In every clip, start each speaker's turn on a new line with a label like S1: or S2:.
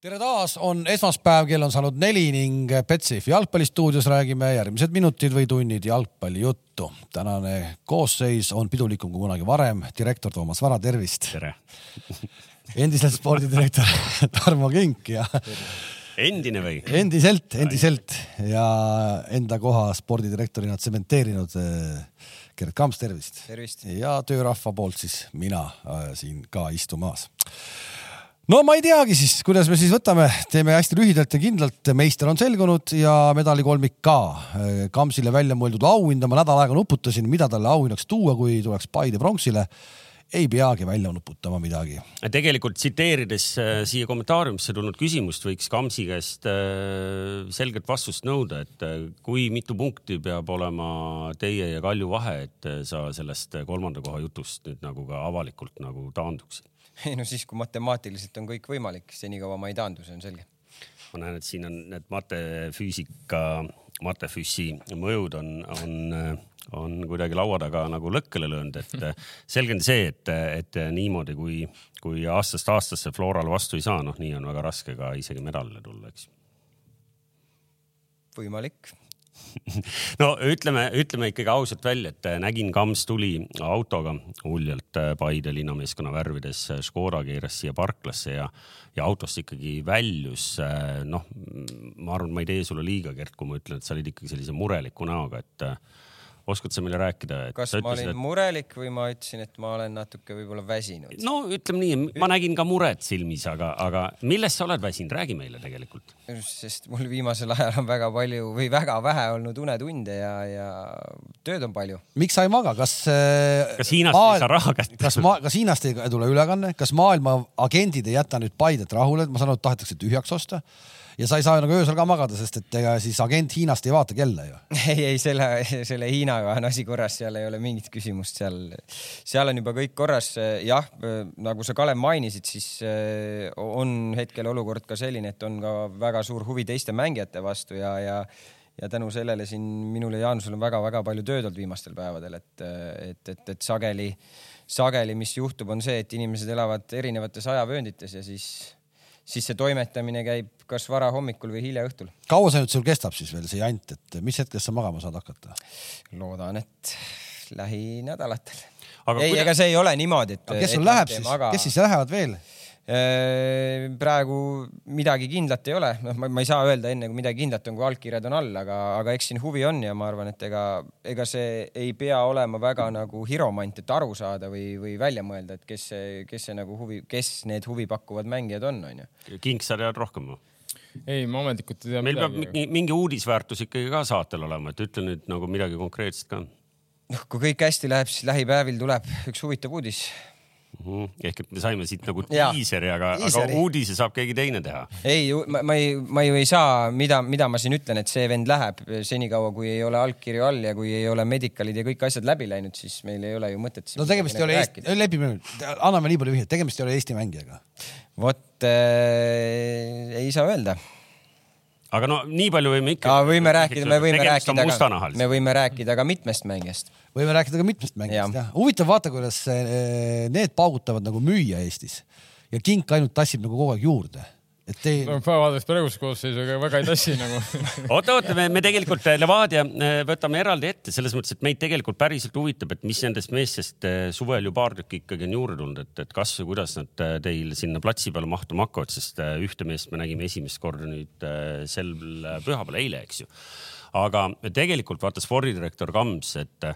S1: tere taas , on esmaspäev , kell on saanud neli ning Betsafe jalgpallistuudios räägime järgmised minutid või tunnid jalgpallijuttu . tänane koosseis on pidulikum kui kunagi varem . direktor Toomas Vara , tervist .
S2: tere .
S1: endiselt spordidirektor Tarmo Kink ja
S2: endine või ?
S1: endiselt , endiselt ja enda koha spordidirektorina tsementeerinud eh, Gerd Kamps , tervist .
S3: Tervist.
S1: ja töörahva poolt siis mina äh, siin ka istumas . no ma ei teagi siis , kuidas me siis võtame , teeme hästi lühidalt ja kindlalt , meister on selgunud ja medalikolmik ka . Äh, Kamsile välja mõeldud auhinda ma nädal aega nuputasin , mida talle auhinnaks tuua , kui tuleks Paide pronksile . ei peagi välja nuputama midagi .
S2: Äh, tegelikult tsiteerides äh, siia kommentaariumisse tulnud küsimust , võiks Kamsi käest äh, selget vastust nõuda , et äh, kui mitu punkti peab olema teie ja Kalju vahe , et äh, sa sellest äh, kolmanda koha jutust nüüd nagu ka avalikult nagu taanduksid .
S3: ei no siis , kui matemaatiliselt on kõik võimalik , senikaua ma ei taandu , see on selge .
S2: ma näen , et siin on need matefüüsika , matefüüsi mõjud on , on , on kuidagi laua taga nagu lõkkele löönud , et selge on see , et , et niimoodi , kui , kui aastast aastasse Floral vastu ei saa , noh , nii on väga raske ka isegi medalile tulla , eks .
S3: võimalik .
S2: no ütleme , ütleme ikkagi ausalt välja , et äh, nägin , Kams tuli autoga uljalt äh, Paide linnameeskonna värvides , Škoda keeras siia parklasse ja , ja autost ikkagi väljus . noh , ma arvan , ma ei tee sulle liiga , Gert , kui ma ütlen , et sa olid ikkagi sellise mureliku näoga , et äh, oskad sa meile rääkida , et
S3: kas
S2: sa
S3: ma
S2: ütlesid ,
S3: olin
S2: et
S3: murelik või ma ütlesin , et ma olen natuke võib-olla väsinud ?
S2: no ütleme nii , ma nägin ka muret silmis , aga , aga millest sa oled väsinud , räägi meile tegelikult .
S3: sest mul viimasel ajal on väga palju või väga vähe olnud unetunde ja , ja tööd on palju .
S1: miks sa ei maga , kas ?
S2: Kas Hiinast ei saa raha kätte?
S1: kas ma , kas Hiinast ei tule ülekanne , kas maailma agendid ei jäta nüüd Paidet rahule , ma saan aru , et tahetakse tühjaks osta ja sa ei saa ju nagu öösel ka magada , sest et ega siis agent Hiinast ei vaata kella ju .
S3: ei , ei selle , selle Hiinaga on asi korras , seal ei ole mingit küsimust , seal , seal on juba kõik korras . jah , nagu sa Kalev mainisid , siis eh, on hetkel olukord ka selline , et on ka väga suur huvi teiste mängijate vastu ja , ja , ja tänu sellele siin minul ja Jaanusel on väga-väga palju tööd olnud viimastel päevadel , et , et , et , et sageli , sageli , mis juhtub , on see , et inimesed elavad erinevates ajavööndites ja siis , siis see toimetamine käib kas varahommikul või hilja õhtul
S1: kaua see nüüd sul kestab siis veel see jant , et mis hetkest sa magama saad hakata ?
S3: loodan , et lähinädalatel .
S2: Aga
S3: ei ,
S2: kuida-
S3: ega see ei ole niimoodi , et .
S1: kes sul läheb siis , kes siis lähevad veel ?
S3: Äh, praegu midagi kindlat ei ole , noh , ma ma ei saa öelda enne , kui midagi kindlat on , kui allkirjad on all , aga , aga eks siin huvi on ja ma arvan , et ega , ega see ei pea olema väga nagu hiromant , et aru saada või , või välja mõelda , et kes see , kes see nagu huvi , kes need huvipakkuvad mängijad on , onju .
S2: king , sa tead rohkem või ?
S4: ei , ma ametlikult ei tea
S2: meil peab
S4: midagi .
S2: mingi , mingi uudisväärtus ikkagi ka saatel olema , et ütle nüüd nagu midagi konkreetset ka mm .
S3: noh , kui kõik hästi läheb , siis lähipäevil tuleb üks huvitav uudis
S2: -hmm. ehk et me saime siit nagu
S3: Jaa.
S2: diiseri , aga , aga
S3: Diiseri.
S2: uudise saab keegi teine teha .
S3: ei , ma , ma ei , ma ju ei saa , mida , mida ma siin ütlen , et see vend läheb senikaua , kui ei ole allkirju all ja kui ei ole medical'id ja kõik asjad läbi läinud , siis meil ei ole ju mõtet siin
S1: no tegemist ei
S3: midagi
S1: ole
S3: nagu
S1: Eesti , lepime nüüd , anname nii palju vihjeid , tegemist ei ole Eesti mängijaga .
S3: rääkida. vot äh, ei saa öelda .
S2: aga no nii palju võime ikka .
S3: aga võime rääkida , me võime rääkida
S2: ka .
S3: ka , me võime rääkida ka mitmest mängijast .
S1: võime rääkida ka mitmest mängijast
S3: Jah.
S1: jah . huvitav vaata , kuidas eh, need paugutavad nagu müüa Eestis ja kink ainult tassib nagu kogu aeg juurde . et teil
S4: no vaadates praeguse koosseisuga väga ei tassi nagu .
S2: oota , oota , me , me tegelikult eh, Levadia eh, võtame eraldi ette selles mõttes , et meid tegelikult päriselt huvitab , et mis nendest meestest eh, suvel ju paar tükki ikkagi on juurde tulnud , et , et kas või kuidas nad eh, teil sinna platsi peale mahtuma hakkavad , sest eh, ühte meest me nägime esimest korda nüüd eh, sel pühapäeval , eile , eks ju . aga tegelikult vaata spordidirektor Kams , et ,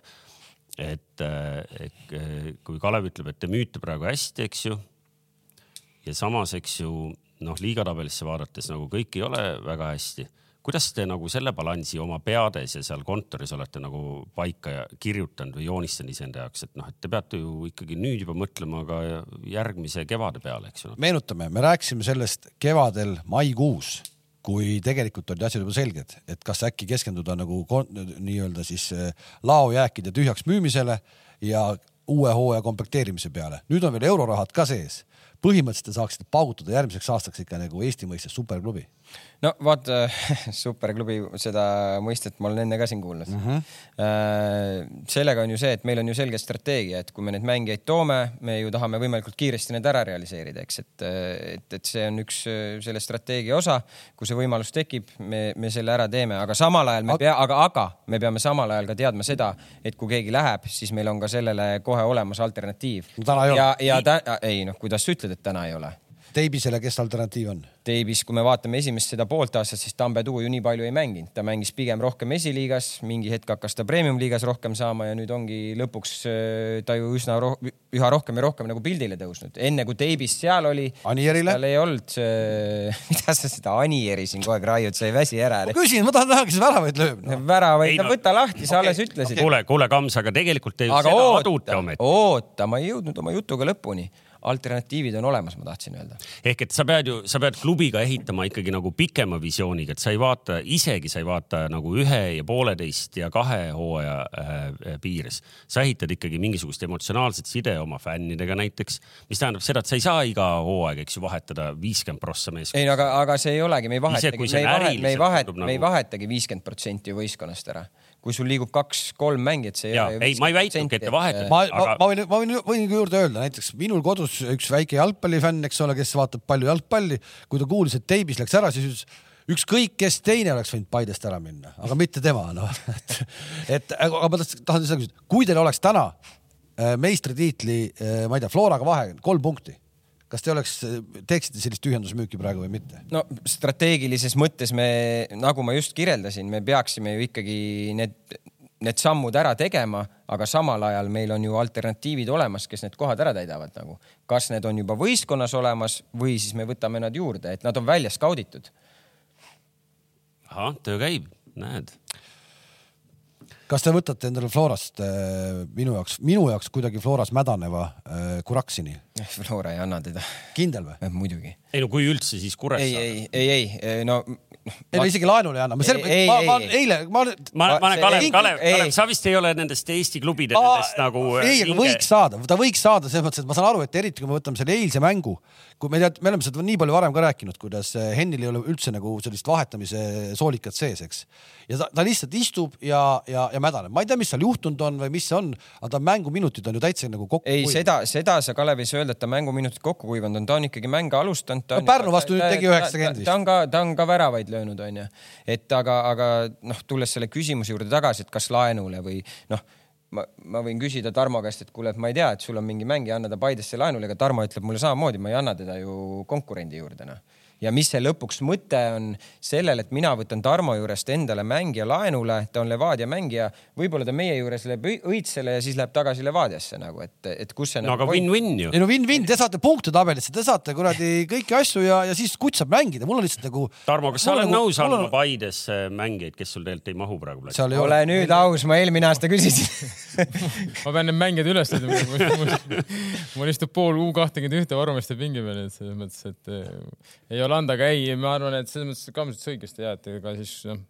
S2: et, eh, et eh, kui Kalev ütleb , et te müüte praegu hästi , eks ju ja samas , eks ju noh , liigatabelisse vaadates nagu kõik ei ole väga hästi . kuidas te nagu selle balansi oma peades ja seal kontoris olete nagu paika ja- kirjutanud või joonistanud iseenda jaoks , et noh , et te peate ju ikkagi nüüd juba mõtlema ka järgmise kevade peale , eks ju . noh.
S1: meenutame , me rääkisime sellest kevadel maikuus , kui tegelikult olid asjad juba selged , et kas äkki keskenduda nagu kon- nii-öelda siis eh, laojääkide tühjaks müümisele ja uue hooaja komplekteerimise peale . nüüd on veel eurorahad ka sees . põhimõtteliselt te saaksite paugutada järgmiseks aastaks ikka nagu Eesti mõistes superklubi .
S3: no vaata superklubi seda mõistet ma olen enne ka siin kuulnud mm .
S1: Mhm.
S3: -hmm. sellega on ju see , et meil on ju selge strateegia , et kui me neid mängijaid toome , me ju tahame võimalikult kiiresti need ära realiseerida , eks , et , et , et see on üks äh, selle strateegia osa . kui see võimalus tekib , me , me selle ära teeme , aga samal ajal me pea , aga , aga me peame samal ajal ka teadma seda , et kui keegi läheb , siis meil on ka sellele kohe olemas alternatiiv .
S1: No täna ei ole.
S3: ja , ja ta , ei noh , kuidas sa ütled , et täna ei ole
S1: Teibisele , kes alternatiiv on ?
S3: Teibis , kui me vaatame esimest seda poolt aastat , siis Tambeduu ju nii palju ei mänginud , ta mängis pigem rohkem esiliigas , mingi hetk hakkas ta premium-liigas rohkem saama ja nüüd ongi lõpuks öö, ta ju üsna roh üha rohkem ja rohkem nagu pildile tõusnud . enne kui Teibis seal oli ,
S1: Anierile?
S3: tal ei olnud , mida sa seda Anieri siin kogu aeg raiud , sa ei väsi ära .
S1: ma küsin , ma tahan näha , kes väravaid lööb no. .
S3: väravaid
S2: Ei, ,
S3: no
S2: no-
S3: võta lahti , sa alles ütlesid .
S2: kuule , kuule , Kams , aga tegelikult te ju
S3: aga
S2: seda adute
S3: oota
S2: ometi ,.
S3: oota , ma ei jõudnud oma jutuga lõpuni . alternatiivid on olemas , ma tahtsin öelda .
S2: ehk et sa pead ju , sa pead klubiga ehitama ikkagi nagu pikema visiooniga , et sa ei vaata , isegi sa ei vaata nagu ühe ja pooleteist ja kahe hooaja äh, piires . sa ehitad ikkagi mingisugust emotsionaalset side oma fännidega näiteks , mis tähendab seda , et sa ei saa iga hooaeg , eks ju , vahetada viiskümmend prossa meeskonda .
S3: ei no aga , aga see ei olegi , me ei vahetagi ,
S2: kui
S3: me
S2: see
S3: ei vahet- ,
S2: äriliselt
S3: me ei vahet-
S2: tundub ,
S3: me ei
S2: nagu-
S3: vahetagi viiskümmend protsenti ju võistkonnast ära . kui sul liigub kaks-kolm mängijat , see ei
S2: Jaa,
S3: ole ju
S2: ei, ma ei väitnudki, et te vahetate.
S1: ma , ma,
S2: Aga-
S1: ma võin , ma võin , võin ka juurde öelda , näiteks minul kodus üks väike jalgpallifänn , eks ole , kes vaatab palju jalgpalli , kui ta kuulis , et Teibis läks ära , siis ütles ükskõik kes teine oleks võinud Paidest ära minna , aga mitte tema , noh . et , et aga ma tahtsin- tahan seda küsida , kui teil oleks täna äh, meistritiitli , ma ei tea , Floraga vahe kolm punkti , kas te oleks , teeksite sellist tühjendusmüüki praegu või mitte ?
S3: no strateegilises mõttes me , nagu ma just kirjeldasin , me peaksime ju ikkagi need , need sammud ära tegema , aga samal ajal meil on ju alternatiivid olemas , kes need kohad ära täidavad nagu . kas need on juba võistkonnas olemas või siis me võtame nad juurde , et nad on välja skauditud .
S2: ahah , töö käib , näed .
S1: kas te võtate endale Florast äh, minu jaoks , minu jaoks kuidagi Floras mädaneva äh, Kuraksini ,
S3: Flora ei anna teda ,
S1: kindel või ?
S3: muidugi .
S2: ei no kui üldse , siis
S3: ei ,
S2: Kuressaare .
S3: ei , ei , ei no
S1: ei no isegi laenule ei anna , ma selle ,
S3: Ei, ei,
S1: ma , ma
S3: ei, ei.
S1: eile , ma .
S2: ma , ma
S3: see-
S2: olen Kalev
S3: ei- ,
S2: Kalev ,
S3: ei-
S2: Kalev , sa vist ei ole nendest Eesti klubide nendest nagu .
S1: ei , aga võiks saada , ta võiks saada selles mõttes , et ma saan aru , et eriti kui me võtame selle eilse mängu , kui me tead , me oleme seda nii palju varem ka rääkinud , kuidas eh, Hennil ei ole üldse nagu sellist vahetamise soolikat sees , eks . ja ta, ta lihtsalt istub ja , ja , ja mädaneb , ma ei tea , mis seal juhtunud on või mis see on , aga ta mänguminutid on ju täitsa nagu kokku .
S3: ei , seda , seda sa , Kalev , ei saa öelda , et ta mänguminutid kokku kuivanud on , ta on ikkagi mänge alustanud .
S1: No Pärnu vastu nüüd tegi 90 vist.
S3: ta on ka , ta on ka väravaid löönud , onju . et aga , aga noh , tulles selle küsimuse juurde tagasi , et kas laenule või noh , ma , ma võin küsida Tarmo käest , et kuule , et ma ei tea , et sul on mingi mängija , anna ta Paidesse laenule , aga Tarmo ütleb mulle samamoodi , ma ei anna teda ju konkurendi juurde , noh ja mis see lõpuks mõte on sellel , et mina võtan Tarmo juurest endale mängija laenule , ta on Levadia mängija , võib-olla ta meie juures läheb õi- õitsele ja siis läheb tagasi Levadiasse nagu , et , et kus see
S2: no aga . win-win ju .
S1: ei no win-win , te saate punkte tabelisse , te saate kuradi kõiki asju ja , ja siis kutt saab mängida , mul on lihtsalt nagu .
S2: Tarmo , kas sa oled nõus andma ? Paides äh, mängijaid , kes sul tegelikult ei mahu praegu platsi ?
S1: seal ei ole
S3: ole . nüüd aus , ma eelmine aasta küsisin
S4: ma pean need mängijad üles leidma , mul istub pool U kahtekümmend ühte varumeeste pingi peal , et selles mõttes , et eh, ei ole anda , aga ei , ma arvan , et selles mõttes Kams ütles õigesti ja , et ega siis noh ,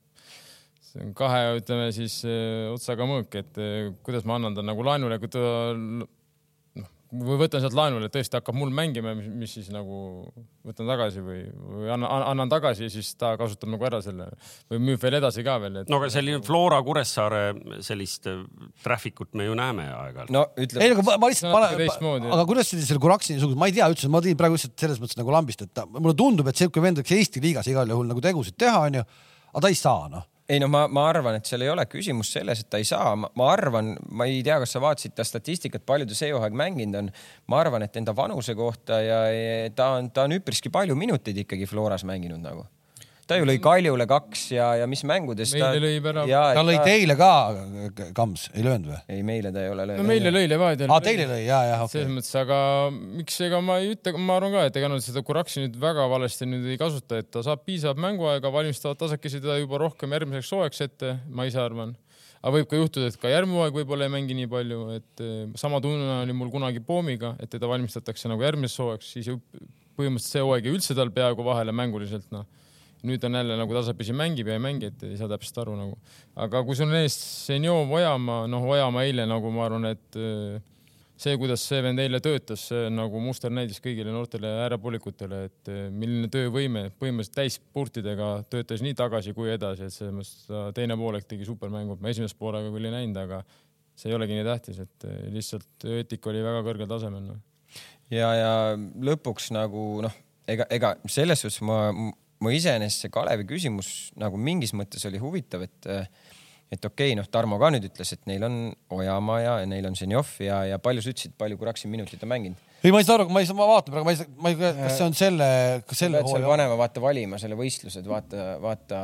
S4: see on kahe , ütleme siis eh, otsaga mõõk , et eh, kuidas ma annan ta nagu laenule , kui ta l- noh , või võtan sealt laenule , tõesti hakkab mul mängima , mis siis nagu võtan tagasi või , või annan, annan tagasi ja siis ta kasutab nagu ära selle või müüb veel edasi ka veel , et
S2: no aga selline Flora Kuressaare sellist äh, traffic ut me ju näeme aeg-ajalt no. .
S3: no
S1: ei ,
S3: ütleme ,
S1: aga ma, ma lihtsalt
S4: See on natuke
S1: panen
S4: teistmoodi, ,
S1: aga kuidas te selle Kuraksi niisuguse , ma ei tea üldse , ma tõin praegu lihtsalt selles mõttes nagu lambist , et ta, mulle tundub , et sihuke vend võiks Eesti liigas igal juhul nagu tegusid teha , onju , aga ta ei saa noh .
S3: ei no ma , ma arvan , et seal ei ole küsimus selles , et ta ei saa , ma arvan , ma ei tea , kas sa vaatasid ta statistikat , palju ta see hooaeg mänginud on . ma arvan , et enda vanuse kohta ja ja ta on , ta on üpriski palju minuteid ikkagi Floras mänginud nagu . ta ju lõi Kaljule kaks ja , ja mis mängudes ta .
S4: Mm. Meile lõi värav.
S1: ta lõi teile ka , Kams , ei löönud või ?
S3: ei , meile ta ei ole löönud .
S4: no meile lõi Levadia .
S1: aa , teile lõi ja , ja okei
S4: selles
S1: okay. .
S4: mõttes , aga miks , ega ma ei ütle , ma arvan ka , et ega nad seda Kuraksi nüüd väga valesti nüüd ei kasuta , et ta saab piisavalt mänguaega , valmistavad tasakesi teda juba rohkem järgmiseks hooajaks ette , ma ise arvan . aga võib ka juhtuda , et ka järgmine hooaeg võib-olla ei mängi nii palju , et eh, sama tunne oli mul kunagi Poomiga , et teda valmistatakse nagu järgmiseks hooajaks , siis ju põhimõtteliselt see hooaeg jäi üldse tal peaaegu vahele mänguliselt , noh . nüüd on jälle nagu tasapisi mängib ja ei mängi , et ei saa täpselt aru nagu . aga kui sul on ees Senjov , Ojamaa , noh , Ojamaa eile nagu ma arvan , et eh, see , kuidas see vend eile töötas , see on nagu muster näidis kõigile noortele äärepoolikutele , et eh, milline töövõime , põhimõtteliselt täispurtidega töötas nii tagasi kui edasi , et selles mõttes ta teine poolek tegi supermängu , ma esimest poolega küll ei näinud , aga see ei olegi nii tähtis , et eh, lihtsalt eetika oli väga kõrgel tasemel noh. no. .
S3: ja , ja lõpuks nagu noh , ega , ega selles suhtes ma , ma iseenesest see Kalevi küsimus nagu mingis mõttes oli huvitav , et et okei okay, , noh , Tarmo ka nüüd ütles , et neil on Ojamaa ja neil on Zenjov ja , ja palju sa ütlesid , palju Kuraksi minutit on mänginud ?
S1: ei , ma ei saa aru , ma ei saa , ma vaatan praegu , ma ei saa , ma ei , kas see on selle , kas
S3: sa
S1: selle
S3: pead seal
S1: hooaja ,
S3: panema , vaata valima selle võistlused , vaata , vaata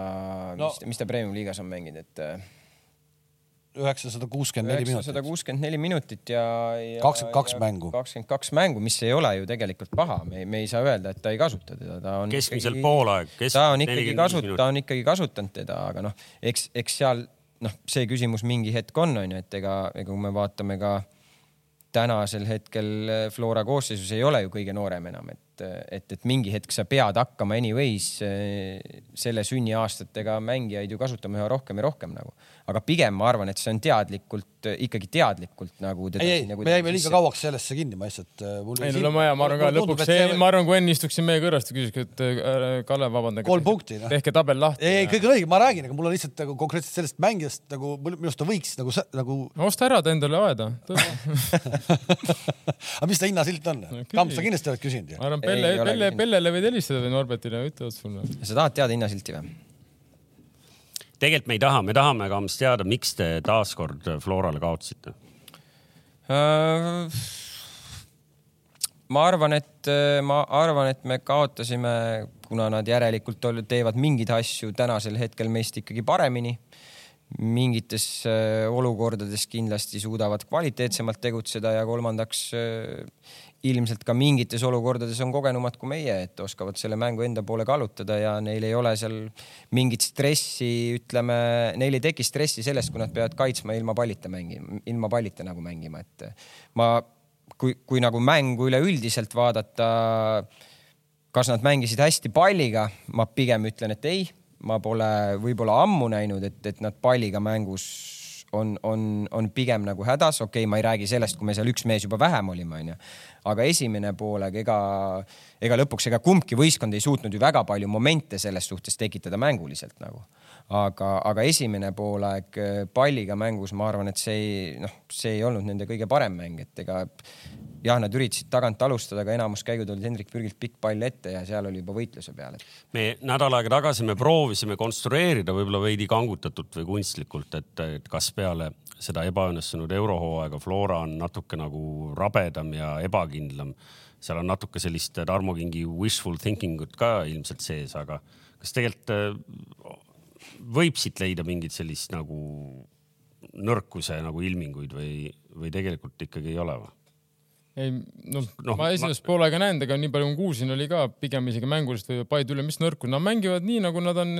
S3: no. , mis , mis ta Premium-liigas on mänginud , et
S1: üheksasada kuuskümmend neli minutit .
S3: üheksasada kuuskümmend neli minutit ja, ja .
S1: 22 mängu.
S3: kakskümmend kaks mängu , mis ei ole ju tegelikult paha , me , me ei saa öelda , et ta ei kasuta teda , ta on .
S2: Keskmiselt poolaeg, kes-
S3: ta on
S2: 45
S3: ikkagi kasutanud ,
S2: minutit.
S3: ta on ikkagi kasutanud teda , aga noh , eks , eks seal noh , see küsimus mingi hetk on , on ju , et ega , ega kui me vaatame ka tänasel hetkel eh, Flora koosseisus ei ole ju kõige noorem enam , et , et , et mingi hetk sa pead hakkama anyways eh, selle sünniaastatega mängijaid ju kasutama üha rohkem ja rohkem nagu . aga pigem ma arvan , et see on teadlikult , ikkagi teadlikult nagu .
S1: ei , ei , me jäime liiga kauaks sellesse kinni , ma lihtsalt . äh,
S4: ei no ma ja ma arvan ka lõpuks , ma arvan , kui Enn istuks siin meie kõrvast ja küsiks , et äh, ära- Kalev , vabandage .
S1: Kolm punkti, noh.
S4: tehke tabel lahti .
S1: ei , ei , kõik on õige , ma räägin , aga mul on lihtsalt nagu konkreetselt sellest mängijast nagu mul- minu arust ta võiks nagu , nagu ,
S4: osta ära ta endale aeda .
S1: aga mis ta hinnasilt on no, ?
S4: küsi.
S1: Kamps , sa kindlasti oled küsinud ju
S4: ma . arvan ,
S3: Ei
S4: Pelle ,
S3: ole
S4: Pelle ,
S3: küsinud.
S4: Pellele võid helistada või Norbertile , ütlevad sulle .
S3: sa tahad teada hinnasilti või ?
S2: tegelikult me ei taha , me tahame , Kams , teada , miks te taaskord Florale kaotasite .
S3: Äh, ma arvan , et äh, ma arvan , et me kaotasime , kuna nad järelikult ol- teevad mingeid asju tänasel hetkel meist ikkagi paremini . mingites äh, olukordades kindlasti suudavad kvaliteetsemalt tegutseda ja kolmandaks äh, ilmselt ka mingites olukordades on kogenumad kui meie , et oskavad selle mängu enda poole kallutada ja neil ei ole seal mingit stressi , ütleme , neil ei teki stressi sellest , kui nad peavad kaitsma ilma pallita mängima , ilma pallita nagu mängima , et ma kui , kui nagu mängu üleüldiselt vaadata , kas nad mängisid hästi palliga , ma pigem ütlen , et ei , ma pole võib-olla ammu näinud , et , et nad palliga mängus on , on , on pigem nagu hädas , okei okay, , ma ei räägi sellest , kui me seal üks mees juba vähem olime , onju . aga esimene poolega ega , ega lõpuks ega kumbki võistkond ei suutnud ju väga palju momente selles suhtes tekitada mänguliselt nagu aga , aga esimene poolaeg äh, palliga mängus , ma arvan , et see ei , noh , see ei olnud nende kõige parem mäng , et ega jah , nad üritasid tagant alustada , aga enamus käigud olid Hendrik Pürgilt pikk pall ette ja seal oli juba võitluse peal , et
S2: me nädal aega tagasi me proovisime konstrueerida võib-olla veidi kangutatult või kunstlikult , et , et kas peale seda ebaõnnestunud eurohooaega Flora on natuke nagu rabedam ja ebakindlam . seal on natuke sellist Tarmo Kingi wishful thinking ut ka ilmselt sees , aga kas tegelikult äh, võib siit leida mingit sellist nagu nõrkuse nagu ilminguid või , või tegelikult ikkagi ei ole või ?
S4: ei noh no, ,
S2: Noh,
S4: ma
S2: ma-
S4: esimest ma... poolega ei näinud , aga nii palju ma kuulsin , oli ka pigem isegi mänguliselt või Paide üle , mis nõrku , nad mängivad nii , nagu nad on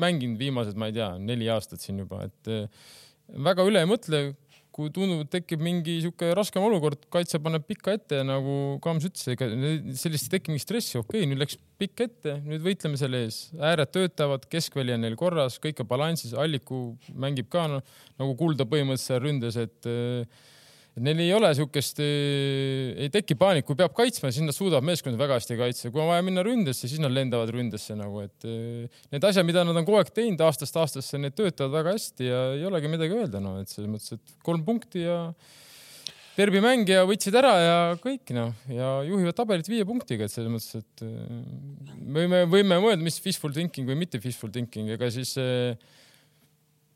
S4: mänginud viimased , ma ei tea , neli aastat siin juba , et eh, väga üle ei mõtle . kui tundub , et tekib mingi sihuke raskem olukord , kaitse paneb pika ette , nagu Kams ütles , ega ne- sellist ei teki mingit stressi , okei okay, , nüüd läks pikk ette , nüüd võitleme selle ees , ääred töötavad , keskväli on neil korras , kõik on balansis , Alliku mängib ka no, nagu kulda põhimõtteliselt seal ründes , et eh, et neil ei ole siukest , ei teki paanik , kui peab kaitsma , siis nad suudavad meeskonda väga hästi kaitsta , kui on vaja minna ründesse , siis nad lendavad ründesse nagu , et öö, need asjad , mida nad on kogu aeg teinud aastast aastasse , need töötavad väga hästi ja ei olegi midagi öelda , no et selles mõttes , et kolm punkti ja derbi mängija võtsid ära ja kõik noh , ja juhivad tabelit viie punktiga , et selles mõttes , et öö, võime , võime mõelda , mis fishful thinking või mitte fishful thinking , ega siis öö,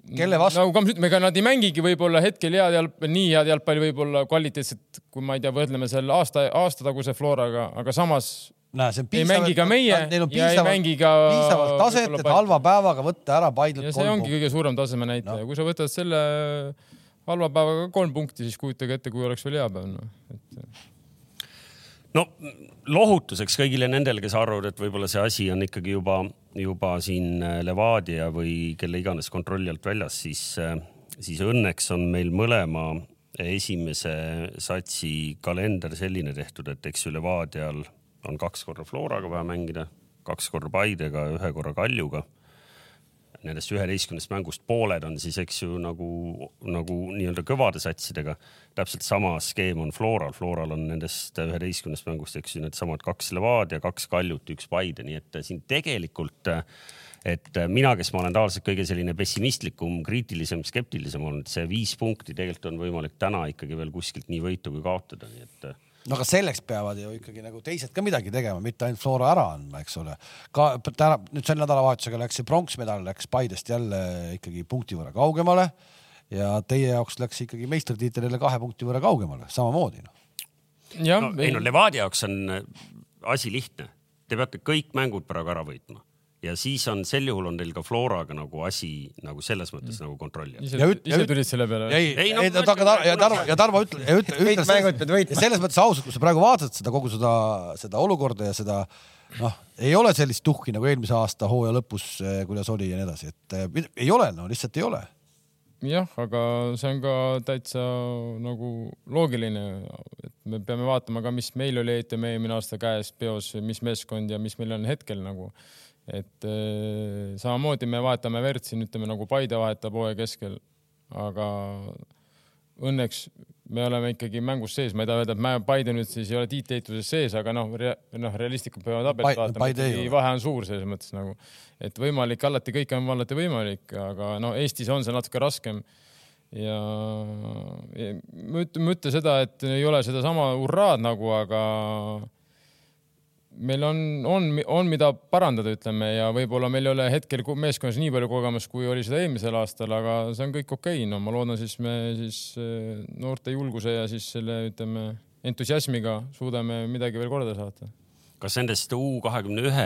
S1: Kelle vastu-
S4: nagu Kams ütleb , ega nad ei mängigi võib-olla hetkel head jalgpalli , nii head jalgpalli võib-olla kvaliteetset , kui ma ei tea , võrdleme selle aasta , aastataguse Floraga , aga samas
S1: näe , see on
S4: Ei mängi ka meie
S1: Neil on
S4: ja ei
S1: piisavalt ,
S4: mängi ka
S1: piisavalt taset ,
S4: võib-olla
S1: et
S4: Paide.
S1: halva päevaga võtta ära Paidelt
S4: ja see
S1: kolm
S4: ongi
S1: punkti .
S4: kõige suurem tasemenäitaja no. , kui sa võtad selle halva päevaga kolm punkti , siis kujutage ette , kui oleks veel hea päev no. . et
S2: no lohutuseks kõigile nendele , kes arvavad , et võib-olla see asi on ikkagi juba , juba siin äh, Levadia või kelle iganes kontrolli alt väljas , siis , siis õnneks on meil mõlema esimese satsi kalender selline tehtud , et eks ju Levadial on kaks korda Floraga vaja mängida , kaks korda Paidega , ühe korra Kaljuga nendest üheteistkümnest mängust pooled on siis , eks ju , nagu , nagu nii-öelda kõvade satsidega . täpselt sama skeem on Floral , Floral on nendest üheteistkümnest mängust , eks ju , needsamad kaks Levadia , kaks Kaljut , üks Paide , nii et siin tegelikult , et mina , kes ma olen tavaliselt kõige selline pessimistlikum , kriitilisem , skeptilisem olnud , see viis punkti tegelikult on võimalik täna ikkagi veel kuskilt nii võitu kui kaotada , nii et
S1: no aga selleks peavad ju ikkagi nagu teised ka midagi tegema , mitte ainult Flora ära andma , eks ole . ka täna , nüüd selle nädalavahetusega läks see pronksmedal läks Paidest jälle ikkagi punkti võrra kaugemale ja teie jaoks läks ikkagi meistritiitel jälle kahe punkti võrra kaugemale , samamoodi noh .
S4: jah
S2: no, , ei no Levadia jaoks on äh, asi lihtne , te peate kõik mängud praegu ära võitma ja siis on sel juhul on teil ka Floraga nagu asi nagu selles mõttes mm. nagu kontrolli all .
S4: ise,
S1: Ja üt- ja
S4: ise
S1: üt-
S4: tulid selle peale ?
S1: ei , ei
S2: Ei, no
S1: no, , aga
S2: ma
S1: Tarmo
S2: ütlen,
S1: ja Tarmo ja Tarmo ütle , ütle ,
S3: Kõik
S1: ütle
S3: mängud pead võitma.
S1: selles mõttes ausalt , kui sa praegu vaatad seda kogu seda , seda olukorda ja seda noh , ei ole sellist tuhki nagu eelmise aasta hooaja lõpus , kuidas oli ja nii edasi , et eh, mid- ei ole , no lihtsalt ei ole .
S4: jah , aga see on ka täitsa nagu loogiline , et me peame vaatama ka , mis meil oli ETM eelmine aasta käes peos , mis meeskond ja mis meil on hetkel nagu . et eh, samamoodi me vahetame verd siin , ütleme nagu Paide vahetab hooaja keskel , aga õnneks me oleme ikkagi mängus sees , ma ei taha öelda , et me- Paide nüüd siis ei ole tiitliheituses sees , aga noh rea, , noh , realistlikult peavad
S1: Pai-
S4: tabelit vaatama
S1: Paide ei ole. ,
S4: vahe on suur selles mõttes nagu , et võimalik alati , kõik on alati võimalik , aga no Eestis on see natuke raskem . ja ja ma ütlen , ma ütlen seda , et ei ole sedasama hurraad nagu , aga meil on , on , on , mida parandada , ütleme , ja võib-olla meil ei ole hetkel ku- meeskonnas nii palju kogemust , kui oli seda eelmisel aastal , aga see on kõik okei okay. , no ma loodan , siis me siis eh, noorte julguse ja siis selle , ütleme , entusiasmiga suudame midagi veel korda saata
S2: kas nendest U kahekümne ühe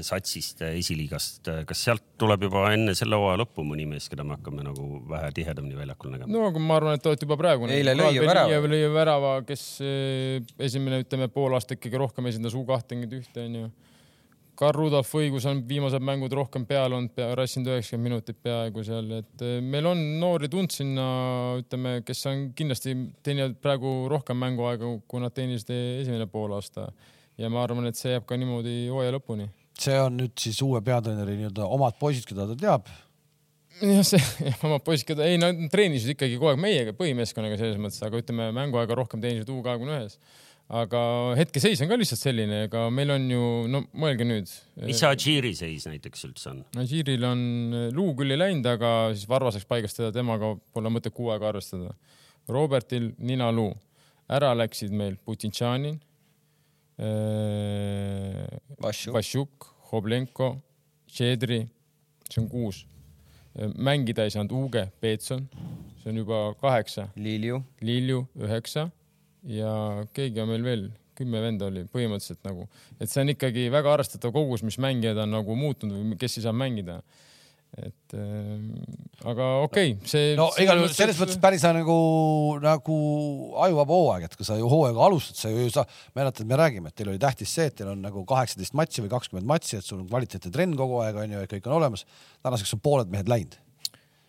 S2: satsist äh, esiliigast , kas sealt tuleb juba enne selle hooaja lõppu mõni mees , keda me hakkame nagu vähe tihedamini väljakul nägema no. ?
S4: no aga ma arvan , et olete juba praegu .
S3: Eile lõi ju värava.
S4: lõi ju värava , kes eh, esimene , ütleme pool aastat ikkagi rohkem esindas U kahtekümmet ühte onju . Karl Rudolf õigus on viimased mängud rohkem peal olnud , rassinud üheksakümmend minutit peaaegu seal , et eh, meil on noori tund sinna , ütleme , kes on kindlasti teenivad praegu rohkem mänguaega , kui nad teenisid e-, esimene poolaasta ja ma arvan , et see jääb ka niimoodi hooaja lõpuni .
S1: see on nüüd siis uue peatreeneri nii-öelda omad poisid , keda ta teab .
S4: jah , see oma poiss , keda , ei nad treenisid ikkagi kogu aeg meiega , põhimeeskonnaga selles mõttes , aga ütleme , mänguaega rohkem teenisid U kahekümne ühes . aga hetkeseis on ka lihtsalt selline , ega meil on ju , no mõelge nüüd .
S2: mis see Adžiiri seis näiteks üldse on ?
S4: Žiril on eh, luu küll ei läinud , aga siis varvaseks paigast teda , temaga pole mõtet kuu aega arvestada . Robertil ninaluu , ära läksid meil Putintšanin , eh,
S3: Vassiuk.
S4: Vassiuk , Hoblenko , Šedri , see on kuus . mängida ei saanud Uuge , Peetson , see on juba kaheksa ,
S3: Lilju ,
S4: Lilju üheksa ja keegi on meil veel , kümme venda oli põhimõtteliselt nagu , et see on ikkagi väga arvestatav kogus , mis mängijad on nagu muutunud või kes ei saa mängida . et äh, aga okei okay, , see .
S1: no igal juhul selles mõttes päris nagu , nagu ajuvaba hooaeg , et kui sa ju hooaega alustad , sa ju ei saa , mäletad , me räägime , et teil oli tähtis see , et teil on nagu kaheksateist matši või kakskümmend matši , et sul on kvaliteetne trenn kogu aeg on ju , et kõik on olemas . tänaseks on pooled mehed läinud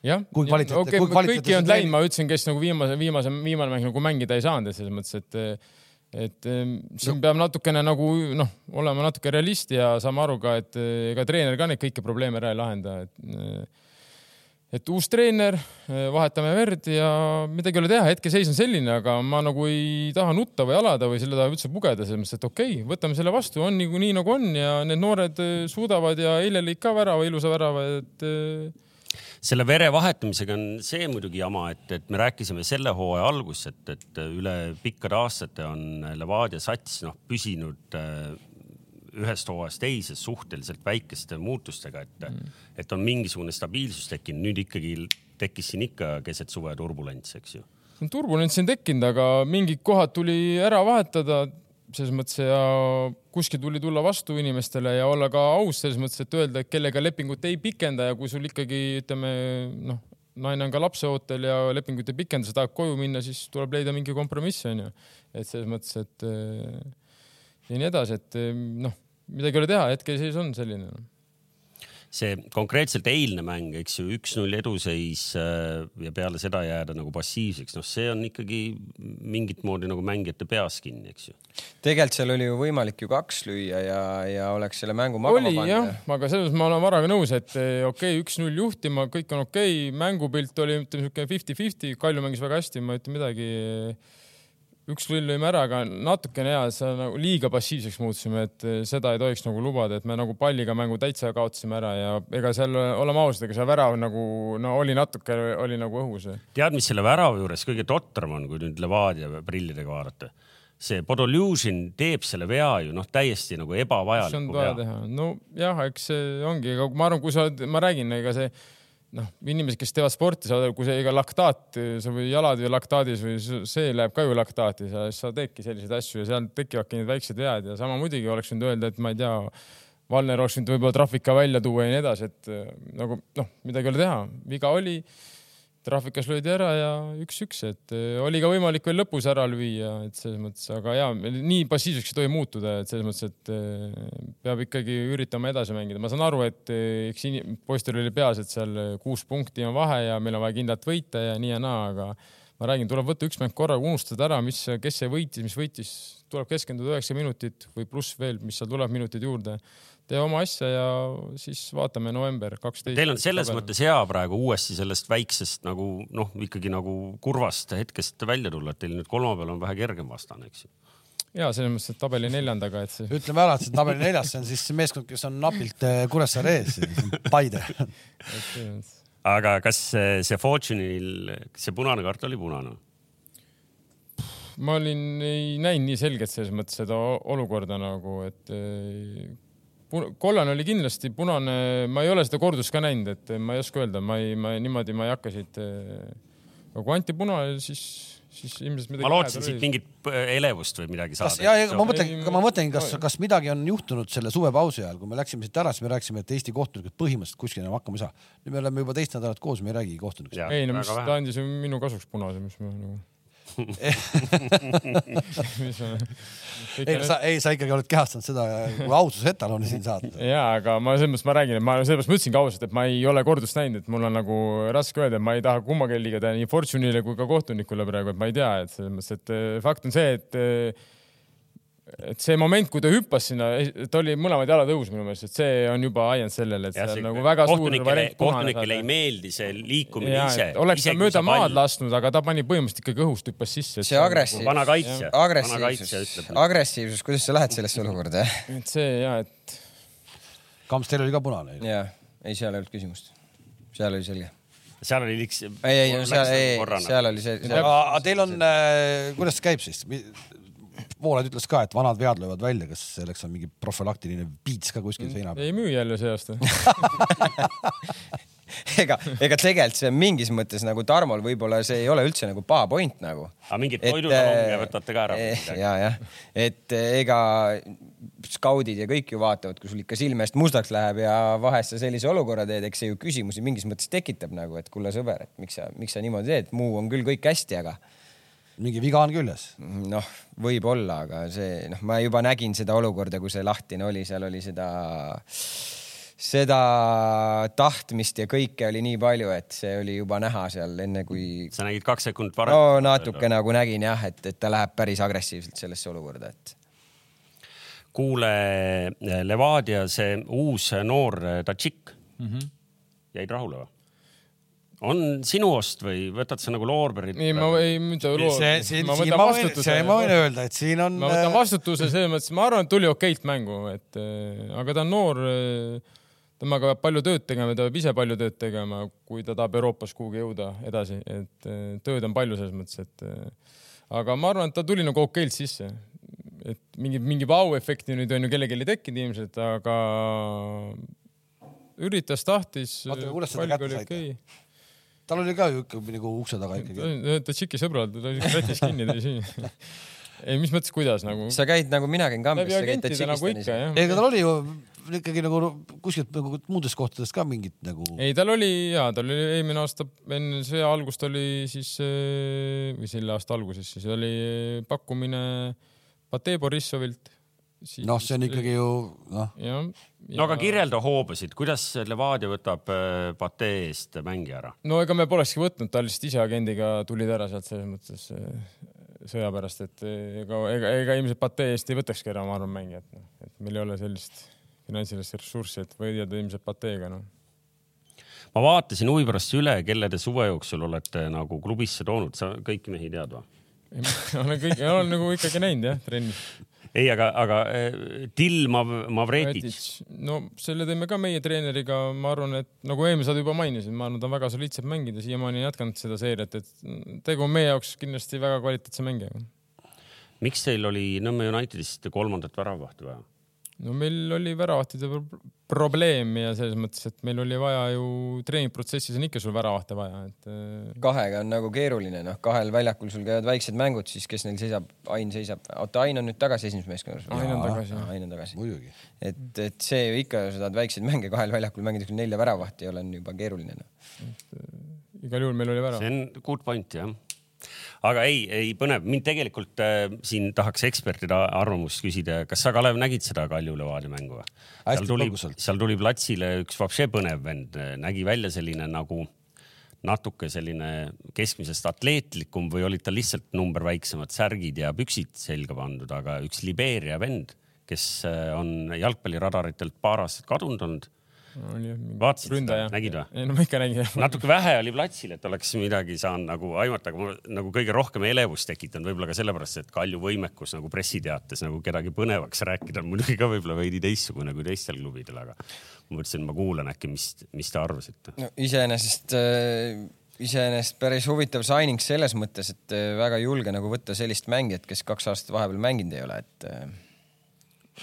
S4: jah ,
S1: kui kvaliteet-
S4: okei
S1: kui
S4: okay, ,
S1: kvaliteet-
S4: kõik ei olnud läinud , ma ütlesin , kes nagu viimase , viimase , viimane mäng nagu mängida ei saanud , et selles mõttes , et et eh, siin peab natukene nagu noh , olema natuke realist ja saama aru ka , et eh, ega treener ka neid kõiki probleeme ära ei lahenda , et eh, et uus treener , vahetame verd ja midagi ei ole teha , hetkeseis on selline , aga ma nagu ei taha nutta või alada või selle taha üldse pugeda , selles mõttes , et okei okay, , võtame selle vastu , on niikuinii nagu on ja need noored eh, suudavad ja eile lõi ka värava , ilusa värava , et eh,
S2: selle vere vahetamisega on see muidugi jama , et , et me rääkisime selle hooaja alguses , et , et üle pikkade aastate on Levadia sats noh püsinud äh, ühest hooajast teise suhteliselt väikeste muutustega , et mm. , et on mingisugune stabiilsus tekkinud , nüüd ikkagi tekkis siin ikka keset suve turbulents , eks ju .
S4: No turbulents on tekkinud , aga mingid kohad tuli ära vahetada selles mõttes ja kuskil tuli tulla vastu inimestele ja olla ka aus selles mõttes , et öelda , et kellega lepingut ei pikenda ja kui sul ikkagi ütleme noh , naine on ka lapseootel ja lepingut ei pikenda , sa tahad koju minna , siis tuleb leida mingi kompromiss onju , et selles mõttes , et eh, noh. ja nii edasi , et eh, noh , midagi ei ole teha , hetkeseis on selline .
S2: see konkreetselt eilne mäng , eks ju , üks-null eduseis äh, ja peale seda jääda nagu passiivseks , noh , see on ikkagi mingit moodi nagu mängijate peas kinni , eks ju .
S3: tegelikult seal oli ju võimalik ju kaks lüüa ja , ja oleks selle mängu magama
S4: oli jah
S3: pannud .,
S4: aga selles mõttes ma olen Varaga nõus , et eh, okei okay, , üks-null juhtima , kõik on okei okay. , mängupilt oli ütleme siuke fifty-fifty , Kalju mängis väga hästi , ma ei ütle midagi . üks-null lõime ära , aga natukene jaa , seal nagu liiga passiivseks muutusime , et eh, seda ei tohiks nagu lubada , et me nagu palliga mängu täitsa kaotasime ära ja ega seal , oleme ausad , ega see värav nagu no oli natuke , oli nagu õhus .
S2: tead , mis selle värava juures kõige totram on , kui nüüd Levadia prillidega vaadata ? see Podoljuzin teeb selle vea ju noh , täiesti nagu
S4: see on
S2: ebavajaliku
S4: vaja
S2: vea .
S4: teha , nojah , eks see ongi , aga ma arvan , kui sa oled , ma räägin , ega see noh , inimesed , kes teevad sporti , sa , kui see ega laktaat , sa või jalad ju laktaadis või s- see läheb ka ju laktaati , sa , sa teedki selliseid asju ja seal tekivadki need väiksed vead ja sama muidugi oleks võinud öelda , et ma ei tea , Valner oleks võinud võib-olla trafika välja tuua ja nii edasi , et äh, nagu noh , midagi ei ole teha , viga oli trahvikas löödi ära ja üks-üks , et eh, oli ka võimalik veel lõpus ära lüüa , et selles mõttes , aga ja nii passiivseks ei tohi muutuda , et selles mõttes , et eh, peab ikkagi üritama edasi mängida . ma saan aru , et eh, eks ini- poistel oli peas , et seal eh, kuus punkti on vahe ja meil on vaja kindlalt võita ja nii ja naa , aga ma räägin , tuleb võtta üks mäng korraga , unustada ära , mis , kes see võitis , mis võitis , tuleb keskenduda üheksa minutit või pluss veel , mis seal tuleb minutid juurde . tee oma asja ja siis vaatame november kaksteist .
S2: Teil on selles mõttes hea praegu uuesti sellest väiksest nagu noh , ikkagi nagu kurvast hetkest välja tulla , et teil nüüd kolmapäeval on vähe kergem vastane , eks ju .
S4: ja selles mõttes , et tabeli neljandaga , et see
S1: ütleme ära , et see tabeli neljas , see on siis see meeskond , kes on napilt eh, Kuressaare ees , Paide .
S4: et,
S2: aga kas see, see Fortune'il , see punane kart oli punane ?
S4: ma olin , ei näinud nii selgelt selles mõttes seda o- olukorda nagu , et eh, pu- kollane oli kindlasti , punane , ma ei ole seda kordust ka näinud , et ma ei oska öelda , ma ei , ma niimoodi ma ei hakka siit . aga kui anti punane , siis , siis ilmselt midagi .
S2: ma lootsin siit . mingit p- elevust või midagi
S1: kas
S2: saada .
S1: ja , ja ma mõtlen , ma mõtlen , kas , kas midagi on juhtunud selle suvepausi ajal , kui me läksime siit ära , siis me rääkisime , et Eesti kohtunikud põhimõtteliselt kuskil enam hakkama ei saa . nüüd me oleme juba teist nädalat koos , me ei räägigi kohtunikest .
S4: ei no mis , ta andis ju minu kasuks punase , mis ma nagu . mis ma .
S1: ei , sa , ei , sa ikkagi oled kehastanud seda , kui aususe etaloni siin saad .
S4: ja , aga ma selles mõttes ma räägin , et ma sellepärast ma ütlesingi ausalt , et ma ei ole kordust näinud , et mul on nagu raske öelda , et ma ei taha kummagi liiga teha nii Fortune'ile kui ka kohtunikule praegu , et ma ei tea , et selles mõttes , et eh, fakt on see , et eh, et see moment , kui ta hüppas sinna , ta oli mõlemad jalad õhus minu meelest , et see on juba ajend sellele , et seal nagu väga suur
S2: kohtunikele ,
S4: variant punane
S2: kohtunikele
S4: saada
S2: ei meeldi see liikumine
S4: ja,
S2: ise
S4: et . oleks ta mööda maad
S2: lasknud .
S4: lasknud , aga ta pani põhimõtteliselt ikkagi õhust hüppas sisse .
S3: see agressiivsus ,
S2: vana kaitsja , vana kaitsja
S3: agressiivsus ,
S2: ütleb .
S3: agressiivsus , kuidas sa lähed sellesse olukorda ?
S4: et see ja et
S1: Kamps , teil oli ka punane .
S3: ja ei , seal ei olnud küsimust . seal oli selge .
S2: seal oli liiks . nagu
S3: ei , ei , seal , ei , seal oli see , seal
S1: aga aga teil on , kuidas see käib siis ? Voolaid ütles ka , et vanad vead löövad välja , kas selleks on mingi profülaktiline piits ka kuskil seina peal ?
S4: ei müü jälle see aasta .
S3: ega , ega tegelikult see mingis mõttes nagu Tarmol võib-olla see ei ole üldse nagu paha point nagu .
S2: Aga mingeid toidutalonge võtate ka ära või midagi?
S3: ja , jah , et eh, ega skaudid ja kõik ju vaatavad , kui sul ikka silme eest mustaks läheb ja vahest sa sellise olukorra teed , eks see ju küsimusi mingis mõttes tekitab nagu , et kulla sõber , et miks sa , miks sa niimoodi teed , muu on küll kõik hästi , aga
S1: mingi viga on küljes .
S3: noh , võib-olla , aga see noh , ma juba nägin seda olukorda , kui see lahtine oli , seal oli seda , seda tahtmist ja kõike oli nii palju , et see oli juba näha seal enne kui .
S2: sa nägid kaks sekundit varem .
S3: no natuke . nagu nägin jah , et , et ta läheb päris agressiivselt sellesse olukorda , et
S2: kuule , Levadia see uus eh, noor Tadžik mm
S3: Mhm.
S2: -hmm. jäid rahule või ? on sinu ost või võtad sa nagu loorberit ?
S4: ei , ma ei , mida .
S1: see , see , siin ma võin , see ma võin öelda , et siin on äh,
S4: ma . võtan vastutuse selles mõttes , ma arvan , et tuli okeilt mängu , et äh, aga ta on noor , temaga peab palju tööd tegema , ta peab ise palju tööd tegema , kui ta tahab Euroopas kuhugi jõuda edasi , et äh, tööd on palju selles mõttes , et äh, aga ma arvan , et ta tuli nagu okeilt sisse . et mingi , mingi vau-efekti nüüd on ju kellelgi ei tekkinud ilmselt , aga üritas , tahtis .
S1: Oota, kuidas seda kätte saite? tal oli ka ju ikka nagu ukse taga ikkagi .
S4: ta tšiki sõbral , ta oli kratis kinni , ta oli siin . ei , mis mõttes , kuidas nagu ?
S3: sa käid nagu mina käin
S4: läbi
S3: kambris , sa käid
S4: agentide nagu ikka
S3: Tadžikistanis .
S4: jah .
S1: ega tal oli ju ikkagi nagu kuskilt nagu muudest kohtadest ka mingit nagu .
S4: ei , tal oli ja tal oli eelmine aasta enne sõja algust oli siis eh, või selle aasta alguses siis oli pakkumine Patee Borissovilt siis...
S1: noh , see on ikkagi ju noh ,
S4: jah .
S2: no aga kirjelda hoobasid , kuidas Levadia võtab äh, Patee eest mängi ära ?
S4: no ega me polekski võtnud , ta lihtsalt ise agendiga tulid ära sealt selles mõttes eh, sõja pärast , et eh, ega , ega , ega ilmselt Patee eest ei võtakski ära , ma arvan , mängijat , noh , et meil ei ole sellist finantsilist ressurssi , et võidelda ilmselt Pateega , noh .
S2: ma vaatasin huvi pärast üle , kelle te suve jooksul olete nagu klubisse toonud , sa kõiki mehi tead või ?
S4: olen kõik , olen nagu ikkagi näinud jah , trennis .
S2: ei , aga , aga äh, Dilma Mavretitš ,
S4: no selle tõime ka meie treeneriga , ma arvan , et nagu eelmine saade juba mainisin , ma arvan , ta on väga soliidselt mänginud ja siiamaani on jätkanud seda seeriat , et tegu on meie jaoks kindlasti väga kvaliteetse mängijaga .
S2: miks teil oli Nõmme Unitedist kolmandat väravahti vaja ?
S4: no meil oli väravahtide pro- probleem ja selles mõttes , et meil oli vaja ju treeningprotsessis on ikka sul väravahte vaja , et äh,
S3: kahega on nagu keeruline , noh , kahel väljakul sul käivad väiksed mängud , siis kes neil seisab , Ain seisab , oota , Ain on nüüd tagasi esimeses meeskonnas .
S4: Ain on tagasi, jah.
S3: Ain on tagasi .
S1: muidugi .
S3: et , et see ju ikka , sa tahad väikseid mänge kahel väljakul mängida , kui nelja väravahti ei ole , on juba keeruline noh.
S4: igal juhul meil oli värav .
S2: see on good point jah . aga ei , ei põnev , mind tegelikult äh, siin tahaks ekspertide arvamust küsida , kas sa , Kalev , nägid seda Kalju Levadia mängu või ?
S1: Hästi
S2: seal tuli ,
S1: põgusalt.
S2: seal tuli platsile üks vapše põnev vend , nägi välja selline nagu natuke selline keskmisest atleetlikum või olid tal lihtsalt number väiksemad särgid ja püksid selga pandud , aga üks Libeeria vend , kes äh, on jalgpalliradaritelt paar aastat kadunud olnud ,
S4: oli jah , mingi
S2: Vaatasid seda? Nägid või?
S4: ei no ma ikka nägin jah .
S2: natuke vähe oli platsil , et oleks midagi saanud nagu aimata , aga mul nagu kõige rohkem elevust tekitanud võib-olla ka sellepärast , et Kalju võimekus nagu pressiteates nagu kedagi põnevaks rääkida on muidugi ka võib-olla veidi teistsugune kui teistel klubidel , aga ma mõtlesin , ma kuulan äkki , mis , mis te arvasite .
S3: no iseenesest äh, , iseenesest päris huvitav signing selles mõttes , et äh, väga julge nagu võtta sellist mängijat , kes kaks aastat vahepeal mänginud ei ole , et äh,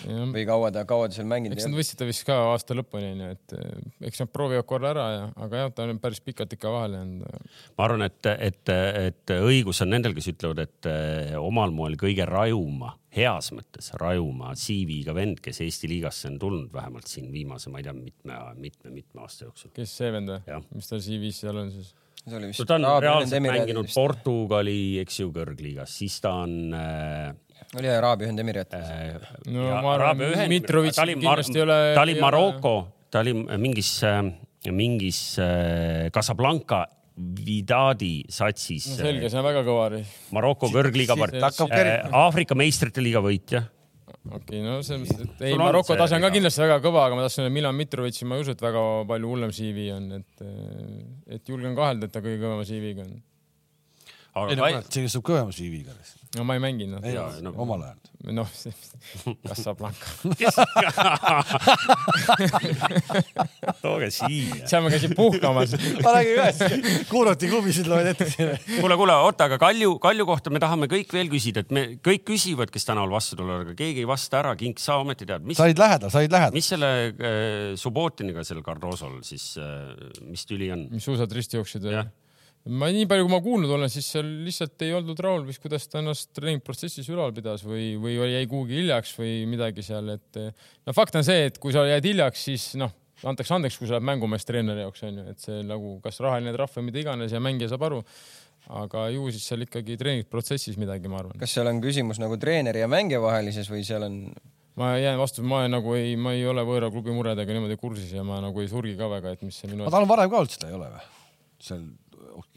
S2: Mm.
S3: või kaua ta , kaua ta seal mänginud
S4: eks
S3: ei
S4: nad
S3: ole .
S4: võtsid ta vist ka aasta lõpuni onju , et äh, eks nad proovivad korra ära ja , aga jah , ta on päris pikalt ikka vahele jäänud .
S2: ma arvan , et , et , et õigus on nendel , kes ütlevad , et eh, omal moel kõige rajuma , heas mõttes rajuma CV-ga vend , kes Eesti liigasse on tulnud vähemalt siin viimase , ma ei tea , mitme , mitme , mitme aasta jooksul .
S4: kes see vend või
S2: Jah. ?
S4: mis tal CV-s seal on siis ?
S3: see oli
S2: no ta on
S3: Araabia
S2: reaalselt
S3: Ühendemiraadid
S2: mänginud
S3: vist.
S2: Portugali , eks ju , kõrgliigas , siis ta on äh, .
S3: oli Araabia Ühendemiraat .
S2: Äh.
S4: No ma arvan, Mitrovic kindlasti ei ole-
S2: ta oli
S4: ei ole-
S2: Maroko , ta oli mingis , mingis äh, Casablanca Vidadi satsis
S4: no
S2: no, ,
S4: selge , see on väga kõva riik .
S2: Maroko kõrgliiga part-
S4: ta hakkab
S2: äh, , Aafrika meistrite liiga võitja .
S4: okei okay, , no selles mõttes , et ei ,
S2: Sul on
S4: Maroko
S2: see
S4: tase on ka
S2: ka.
S4: kindlasti väga kõva , aga ma tahtsin öelda , Milan Mitrovitši ma ei usu , et väga palju hullem CV on , et , et julgen kahelda , et ta kõige kõvema CV-ga on .
S2: aga
S1: ei no kurat , see saab kõvema CV-ga .
S4: no ma ei mänginud
S1: ei
S4: noh ,
S2: Jaa, no-
S1: no omal ajal .
S4: noh , Casablanca .
S2: ka- tooge siia .
S4: seal ma käisin puhkamas .
S1: ma räägin ühest , kuulati klubisid loen ette .
S2: kuule , kuule , oota , aga Kalju , Kalju kohta me tahame kõik veel küsida , et me kõik küsivad , kes tänaval vastu tulevad , aga keegi ei vasta ära . King , sa ometi tead , mis
S1: sa olid lähedal , sa olid lähedal .
S2: mis selle äh, Subbotiniga seal Cardosol siis äh, , mis tüli on ?
S4: mis suusad risti jooksid või
S2: Jah. ?
S4: ma nii palju , kui ma kuulnud olen , siis seal lihtsalt ei oldud rahul vist , kuidas ta ennast treeningprotsessis ülal pidas või , või oli- jäi kuhugi hiljaks või midagi seal , et eh, no fakt on see , et kui sa jääd hiljaks , siis noh , antakse andeks , kui sa oled mängumees treeneri jaoks onju , et see nagu kas rahaline trahv või mida iganes ja mängija saab aru . aga ju siis seal ikkagi treeningprotsessis midagi , ma arvan .
S3: kas seal on küsimus nagu treeneri ja mängija vahelises või seal on ,
S4: ma jään vastu , ma nagu ei , ma ei ole võõra klubi muredega niimoodi kursis ja ma nagu ei surgi ka väga , et mis see minu
S1: aga , tal on varem ka olnud seda , ei ole või ? seal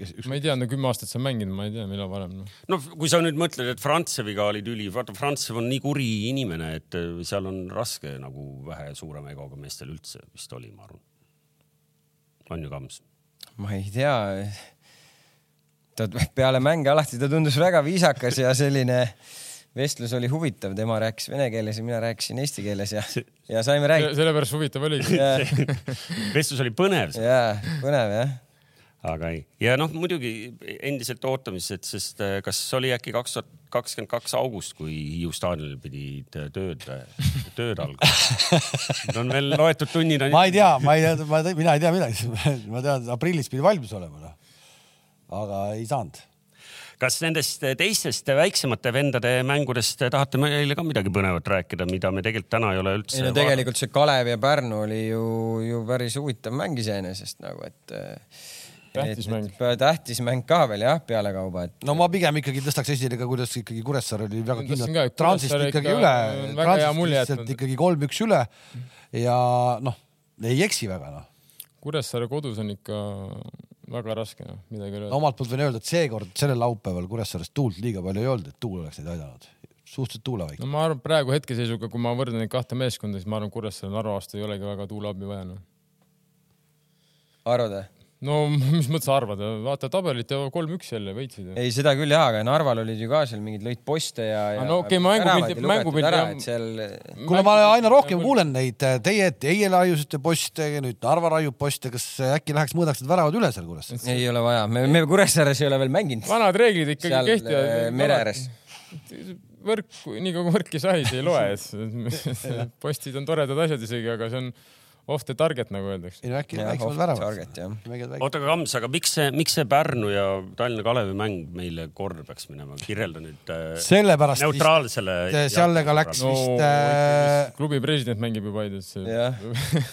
S1: üks ,
S4: ma ei tea , no kümme aastat sa mänginud , ma ei tea , millal varem noh. no. .
S2: no kui sa nüüd mõtled , et Frantseviga oli tüli , vaata Frantsev on nii kuri inimene , et äh, seal on raske nagu vähe suurema egoga meestel üldse vist oli , ma arvan . on ju kamps ?
S3: ma ei tea . ta peale mänge alati ta tundus väga viisakas ja selline vestlus oli huvitav , tema rääkis vene keeles ja mina rääkisin eesti keeles ja , ja saime rääkida .
S4: sellepärast huvitav oligi .
S2: vestlus oli põnev ,
S3: jaa , põnev jah .
S2: aga ei . ja noh , muidugi endiselt ootamised , sest äh, kas oli äkki kaks tuhat kakskümmend kaks august , kui Hiiu staadionil pidid äh, tööd , tööd algama ? nüüd on veel loetud tunnid on
S1: ma ei tea , ma ei tea , ma , mina ei tea midagi , ma tean , aprillis pidi valmis olema , noh . aga ei saanud .
S2: kas nendest teistest väiksemate vendade mängudest tahate meile ka midagi põnevat rääkida , mida me tegelikult täna ei ole üldse
S3: ei no tegelikult see Kalev ja Pärnu oli ju , ju päris huvitav mäng iseenesest nagu , et
S4: tähtis mäng .
S3: tähtis mäng ka veel jah , pealekauba , et
S1: no ma pigem ikkagi tõstaks esile ka , kuidas ikkagi Kuressaare oli väga
S4: Tõstsin ka,
S1: kindlalt
S4: et
S1: Transist
S4: Kuressaare
S1: ikkagi
S4: ikka
S1: üle
S4: on , väga hea
S1: Transist
S4: mulje
S1: lihtsalt
S4: jätnud.
S1: ikkagi kolm-üks üle ja noh , ei eksi väga noh .
S4: Kuressaare kodus on ikka väga raske , noh , midagi ei ole .
S1: omalt poolt võin öelda , et seekord sellel laupäeval Kuressaares tuult liiga palju ei olnud , et tuul oleks neid aidanud . suhteliselt tuulevaik .
S4: no ma arvan , praegu hetkeseisuga , kui ma võrdlen neid kahte meeskonda , siis ma arvan , Kuressaare Narva vastu ei olegi väga tuule abi vaja , noh .
S3: arvad või ?
S4: no mis mõttes sa arvad , vaata tabelit ja kolm-üks jälle võitsid ju .
S3: ei , seda küll jaa , aga Narval olid ju ka seal mingid lõid poste ja, ja .
S4: Ah, no okei, mängupildi- mängupildi-
S3: seal
S1: kuule , ma aina rohkem kuulen neid äh, teie , teie raiusite poste ja nüüd Narva raiub poste , kas äh, äkki läheks mõõdaks need väravad üle seal Kuressaares ?
S3: ei ole vaja , me , me Kuressaares ei ole veel mänginud .
S4: vanad reeglid ikkagi
S3: seal
S4: kehtivad
S3: äh, . mere ääres .
S4: võrk , nii kaua võrki sai , see ei loe . postid on toredad asjad isegi , aga see on off the target , nagu öeldakse .
S1: ei no äkki
S3: Jah,
S1: väiksemad
S3: off target, jah.
S1: väravad .
S2: oota , aga Kams , aga miks see , miks see Pärnu ja Tallinna Kalevi mäng meile korda peaks minema , kirjelda nüüd äh,
S1: sellepärast vist
S2: neutraalsele .
S1: eh, sellega läks
S4: No
S1: vist äh,
S4: klubi president mängib juba Aidas .
S3: jah ,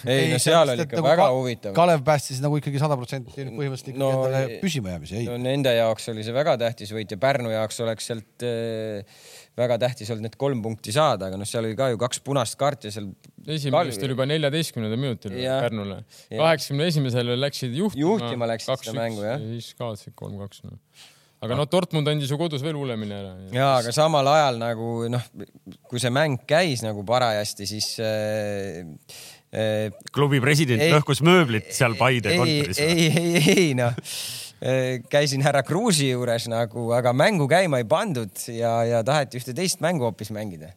S3: ei no seal
S1: sest, et
S3: oli
S1: nagu
S3: ikka väga
S1: Ka-
S3: huvitav .
S1: Kalev päästis nagu ikkagi sada protsenti põhimõtteliselt ikkagi
S3: No
S1: no, endale
S3: ei-
S1: püsimajäämise , ei
S3: no
S1: no, .
S3: nende jaoks oli see väga tähtis võit ja Pärnu jaoks oleks sealt äh, väga tähtis olnud need kolm punkti saada , aga noh , seal oli ka ju kaks punast kaarti ja seal .
S4: esimene vist oli juba neljateistkümnendal minutil
S3: Jah.
S4: Pärnule .
S3: Jah.
S4: kaheksakümne esimesel läksid juhtima .
S3: Juhtima läksid seda mängu, jah. Ah.
S4: siis kaotasid kolm-kaks no. . noh. aga no Dortmund andis ju kodus veel hullemini ära .
S3: ja , aga samal ajal nagu noh , kui see mäng käis nagu parajasti , siis äh, äh,
S2: klubi president
S3: Ei-
S2: lõhkus mööblit seal Paide
S3: ei ,
S2: kontoris .
S3: ei , ei , ei noh , käisin härra Kruusi juures nagu , aga mängu käima ei pandud ja , ja taheti ühte teist mängu hoopis mängida .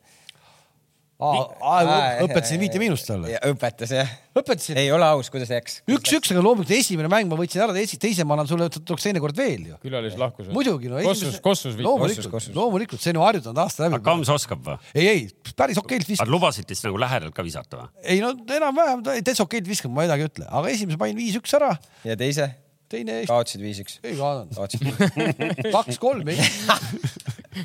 S1: õpetasin viite miinust talle .
S3: õpetas jah .
S1: õpetasin
S3: ei ole aus , kuidas läks ?
S1: üks-üks , aga loomulikult esimene mäng ma võtsin ära , teise ma annan sulle , tuleks teinekord veel ju .
S4: külalis lahkus .
S1: muidugi no .
S4: kossus , kossus
S1: loomulikult , loomulikult , see on ju harjutanud aasta
S2: aga
S1: läbi .
S2: Kams oskab või ?
S1: ei , ei päris okeilt
S2: Nad
S1: viskab ,
S2: lubasid teist nagu lähedalt ka visata või ?
S1: ei no enam-vähem , täitsa okeilt viskab , ma midagi ei ütle , aga esimese panin viis-üks ära ,
S3: ja teise
S1: teine ei
S3: kaotasid viis-üks .
S1: kaadanud ,
S3: kaotasid
S1: kaks-kolm ei .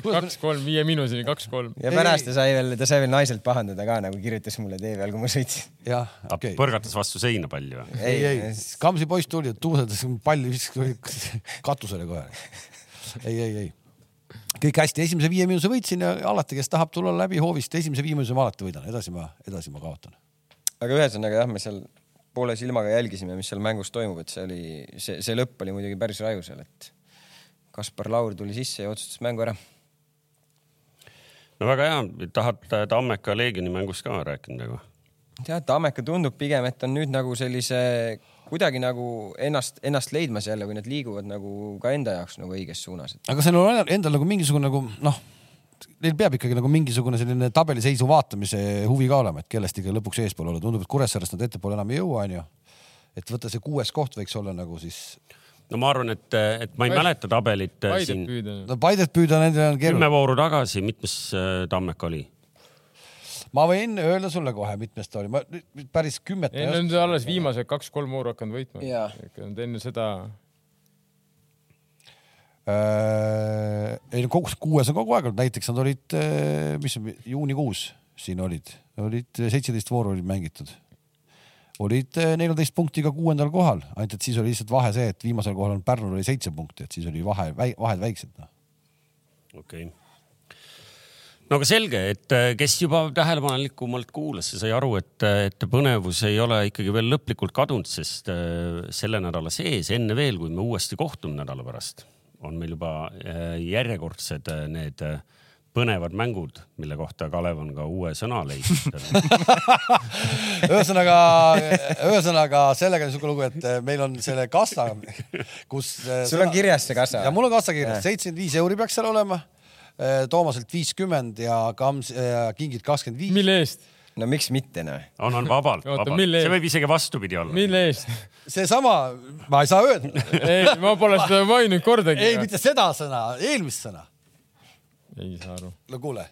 S4: kaks-kolm , viie miinuseni kaks-kolm .
S3: ja pärast ta sai veel , ta sai veel naiselt pahandada ka nagu kirjutas mulle tee peal , kui ma sõitsin .
S1: jah ,
S2: ta
S1: okei .
S2: põrgatas vastu seina palli või ?
S1: ei , ei , Kamsi poiss tuli , tuuseldas palli , viskas katusele kohe . ei , ei , ei , kõik hästi , esimese viie miinuse võitsin ja alati , kes tahab tulla läbi hoovist , esimese viie miinuse ma alati võidan , edasi ma , edasi ma kaotan .
S3: aga ühesõnaga jah , me seal poole silmaga jälgisime , mis seal mängus toimub , et see oli , see , see lõpp oli muidugi päris raju seal , et Kaspar Laur tuli sisse ja otsustas mängu ära .
S2: no väga hea , tahad äh, Tammeka Leegioni mängust ka rääkida nagu ?
S3: tead , Tammeka tundub pigem , et on nüüd nagu sellise kuidagi nagu ennast , ennast leidmas jälle , kui nad liiguvad nagu ka enda jaoks nagu õiges suunas .
S1: aga see on enda- endal nagu mingisugune nagu noh , neil peab ikkagi nagu mingisugune selline tabeliseisu vaatamise huvi ka olema , et kellest ikka lõpuks eespool olla , tundub , et Kuressaarest nad ettepoole enam ei jõua , onju . et võtta see kuues koht võiks olla nagu siis ,
S2: no ma arvan , et , et ma ei
S4: Paidet-
S2: mäleta tabelit äh,
S4: Paidet
S2: siin
S4: püüda . noh.
S1: no Paidet püüda nendele on keeruline .
S2: kümme vooru tagasi , mitmes äh, Tammeka oli ?
S1: ma võin öelda sulle kohe , mitmes ta oli , ma nüüd päris kümmet
S4: ei , nad on alles viimased kaks-kolm vooru hakanud võitma
S3: Jaa. .
S4: enne seda ,
S1: äh, . ei no kogu , kuues on kogu aeg olnud , näiteks nad olid äh, , mis see- juunikuus siin olid , olid äh, seitseteist vooru olid mängitud . olid äh, neljateist punktiga kuuendal kohal , ainult et siis oli lihtsalt vahe see , et viimasel kohal on Pärnul oli seitse punkti , et siis oli vahe , vahed väiksed noh .
S2: okei okay. . no aga selge , et äh, kes juba tähelepanelikumalt kuulas , see sai aru , et , et põnevus ei ole ikkagi veel lõplikult kadunud , sest äh, selle nädala sees , enne veel , kui me uuesti kohtume nädala pärast , on meil juba äh, järjekordsed äh, need äh, põnevad mängud , mille kohta Kalev on ka uue sõna leidnud .
S1: ühesõnaga , ühesõnaga sellega on niisugune lugu , et äh, meil on selle kassa , kus .
S3: sul on kirjas see kassa
S1: ja ? mul on kassa kirjas , seitsekümmend viis euri peaks seal olema . Toomaselt viiskümmend ja Kams- , Kingilt kakskümmend viis .
S4: mille eest ,
S3: no miks mitte noh ?
S2: on , on vabalt ,
S4: Oota,
S2: vabalt ,
S4: mille-
S2: see võib isegi vastupidi olla .
S4: mille eest ?
S1: seesama , ma ei saa öelda ,
S4: ei , ma pole seda maininud kordagi
S1: ei . mitte seda sõna , eelmist sõna .
S4: ei saa aru .
S1: no kuule ,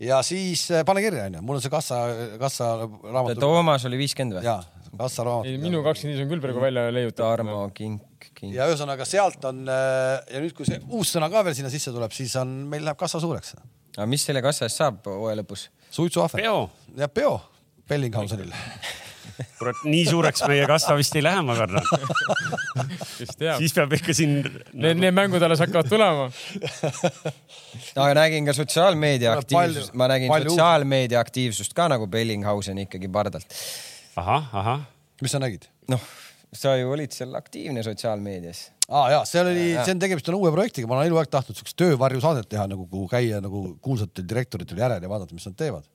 S1: ja siis äh, pane kirja onju , mul on see kassa , kassa raamat .
S3: Toomas oli viiskümmend või ?
S1: ja , kassa
S4: ei ,
S1: raamat .
S4: minu kakskümmend viis on küll praegu välja leiutatud . noh.
S3: Tarmo Kink , Kink .
S1: ja ühesõnaga sealt on äh, ja nüüd , kui see uus sõna ka veel sinna sisse tuleb , siis on , meil läheb kassa suureks .
S3: aga mis selle kassa eest saab hooaja lõpus ?
S1: suitsuahver
S2: Peo ,
S1: ja peo Bellinghamsenil .
S2: kurat , nii suureks meie kassa vist ei lähe , ma kardan .
S4: kes teab .
S2: siis peab ikka siin .
S4: Need , need mängud alles hakkavad tulema .
S3: aga nägin ka sotsiaalmeedia
S1: Tuleb
S3: aktiivsust ,
S1: palju-
S3: ma nägin
S1: palju
S3: sotsiaalmeedia aktiivsust ka nagu Bellinghauseni ikkagi pardalt .
S2: ahah , ahah .
S1: mis sa nägid ?
S3: noh , sa ju olid seal aktiivne sotsiaalmeedias .
S1: aa ah, jaa , seal oli , see on , tegemist on uue projektiga , ma olen eluaeg tahtnud siukest töövarjusaadet teha nagu , kuhu käia nagu kuulsatel direktoritel järel ja vaadata , mis nad teevad .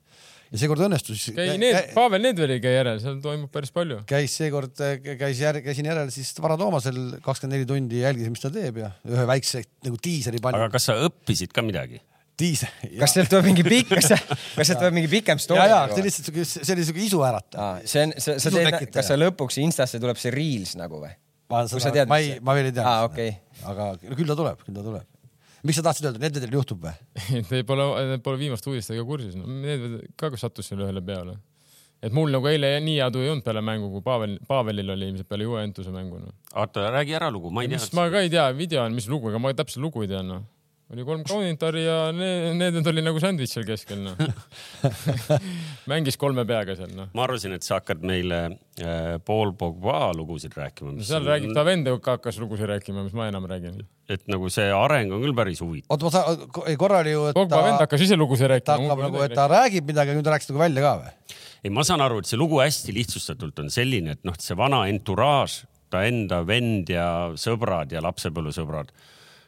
S1: ja seekord õnnestus .
S4: käi need , Pavel Nedveli käi järel , seal toimub päris palju .
S1: käis seekord , käis järg , käisin järel siis Vara Toomasel kakskümmend neli tundi jälgisin , mis ta teeb ja ühe väikse nagu diiseri
S2: aga
S1: panin .
S2: kas sa õppisid ka midagi ?
S1: diise .
S3: kas sealt tuleb mingi pikk , kas , kas sealt tuleb mingi pikem story ?
S1: ja , ja see on lihtsalt siuke , see oli siuke isu äratav .
S3: Aa, see on , sa , sa
S1: Sisu
S3: teed ,
S1: tekitaja.
S3: kas sa lõpuks Instasse tuleb see Reels nagu või ?
S1: ma
S3: Kus sa tead,
S1: seda , ma
S3: mis
S1: ei
S3: see- ,
S1: ma veel ei tea .
S3: Aa, okei.
S1: aga küll ta tuleb , küll ta tuleb . miks sa tahtsid öelda , nendel juhtub või ?
S4: Te pole , pole viimaste uudistega kursis no, . Nedved ka sattus selle ühele peale . et mul nagu eile nii hea tuju ei olnud peale mängu , kui Pavel , Pavelil oli ilmselt peale Juventuse mängu no. .
S2: oota , räägi ära lugu , ma ei
S4: mis
S2: tea .
S4: ma ka ei tea , video on , mis lugu , ega ma täpselt lugu ei tea noh . oli kolm kommentaari ja need , need oli nagu sandwich seal keskel noh . mängis kolme peaga seal noh .
S2: ma arvasin , et sa hakkad meile äh, Paul Pogba lugusid rääkima .
S4: seal räägib , ta vend hakkas lugusid rääkima , mis ma enam räägin .
S2: et nagu see areng on küll päris huvitav .
S1: oota , ma saan , ei korra oli ju , et
S4: Pogba vend
S1: ta ,
S4: hakkas ise lugusid rääkima .
S1: ta hakkab nagu , et ta räägib midagi , aga nüüd ta rääkis nagu välja ka või ?
S2: ei , ma saan aru , et see lugu hästi lihtsustatult on selline , et noh , see vana entourage , ta enda vend ja sõbrad ja lapsepõlvesõbrad ,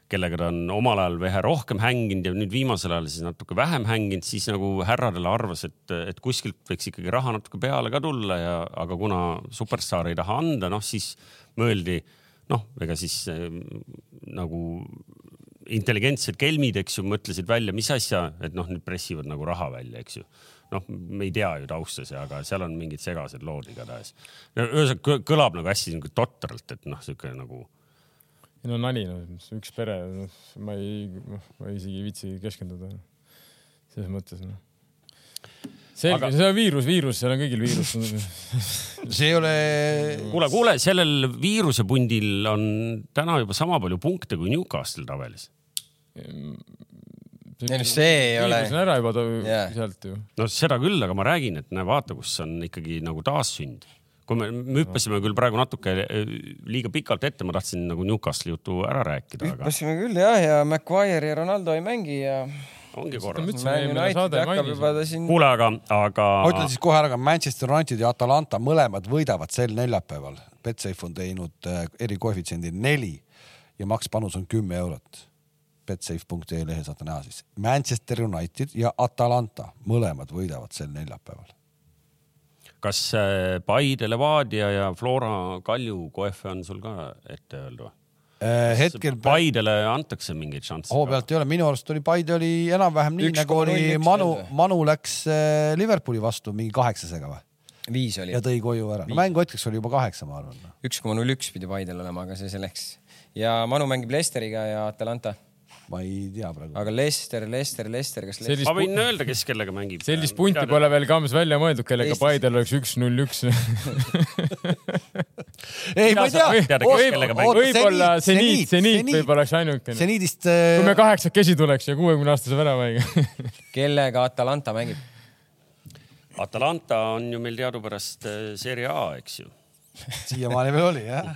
S2: kellega ta on omal ajal vähe rohkem hänginud ja nüüd viimasel ajal siis natuke vähem hänginud , siis nagu härradele arvas , et , et kuskilt võiks ikkagi raha natuke peale ka tulla ja , aga kuna superstaar ei taha anda , noh siis mõeldi , noh , ega siis äh, nagu intelligentsed kelmid , eks ju , mõtlesid välja , mis asja , et noh , nüüd pressivad nagu raha välja , eks ju . noh , me ei tea ju taustas , aga seal on mingid segased lood igatahes no, . ühesõnaga kõ- kõlab nagu hästi niisugune totralt , et noh , niisugune nagu
S4: no nali , no üks pere , ma ei , ma isegi ei viitsi keskenduda . selles mõttes noh . selge
S2: Aga-
S4: aga... , see on viirus , viirus , seal on kõigil viirus .
S1: see ei ole . Mm.
S2: kuule , kuule , sellel viirusepundil on täna juba sama palju punkte kui Newcastle tabelis .
S3: ei no see ei ole ,
S4: viirus on ära juba ta,
S3: Jaa.
S4: yeah. sealt ju .
S2: no seda küll , aga ma räägin , et näe , vaata , kus on ikkagi nagu taassünd . kui me , me hüppasime küll praegu natuke eh, liiga pikalt ette , ma tahtsin nagu Newcastle'i jutu ära rääkida , aga
S3: hüppasime küll jah , ja Maguire ja Ronaldo ei mängi ja
S2: ongi korras .
S3: Man United hakkab juba ta siin ,
S2: kuule , aga , aga .
S1: ma ütlen siis kohe ära ka Manchester United ja Atalanta mõlemad võidavad sel neljapäeval . Betsafe on teinud äh, erikoefitsiendi neli ja makspanus on kümme eurot . Betsafe.ee lehe saate näha siis . Manchester United ja Atalanta mõlemad võidavad sel neljapäeval .
S2: kas äh, Paide , Levadia ja Flora Kalju koefe on sul ka ette öelda ?
S1: Äh, hetkel
S2: Paidele antakse mingeid šansse ?
S4: Oh,
S1: hoo pealt ei ole , minu arust oli Paide oli enam-vähem nii
S3: Üks
S1: nagu
S3: koma null
S1: oli
S3: üks
S1: Manu
S3: veel või? ,
S1: Manu läks äh, Liverpooli vastu mingi kaheksasega või
S3: viis oli
S1: ja . tõi koju ära no, . mängu hetkeks oli juba kaheksa , ma arvan .
S3: üks koma null üks pidi Paidel olema , aga see selleks . ja Manu mängib Leicesteriga ja Atalanta ,
S1: ma ei tea praegu .
S3: aga Leicester , Leicester , Leicester , kas Leicester ?
S2: ma võin öelda , kes kellega mängib .
S4: sellist punti . pole veel Kams välja mõeldud , kellega
S3: Eestis-
S4: Paidel oleks üks-null üks .
S1: ei , ma ei tea .
S2: Teada, kes kellega mängib.
S4: võib-olla seniit , seniit võib-olla oleks ainukene .
S1: seniidist
S4: kui me
S1: äh,
S4: kaheksakesi tuleks ja kuuekümne aastase väravaga .
S3: kellega Atalanta mängib ?
S2: Atalanta on ju meil teadupärast äh, Serie A , eks ju .
S1: siiamaani veel oli jah .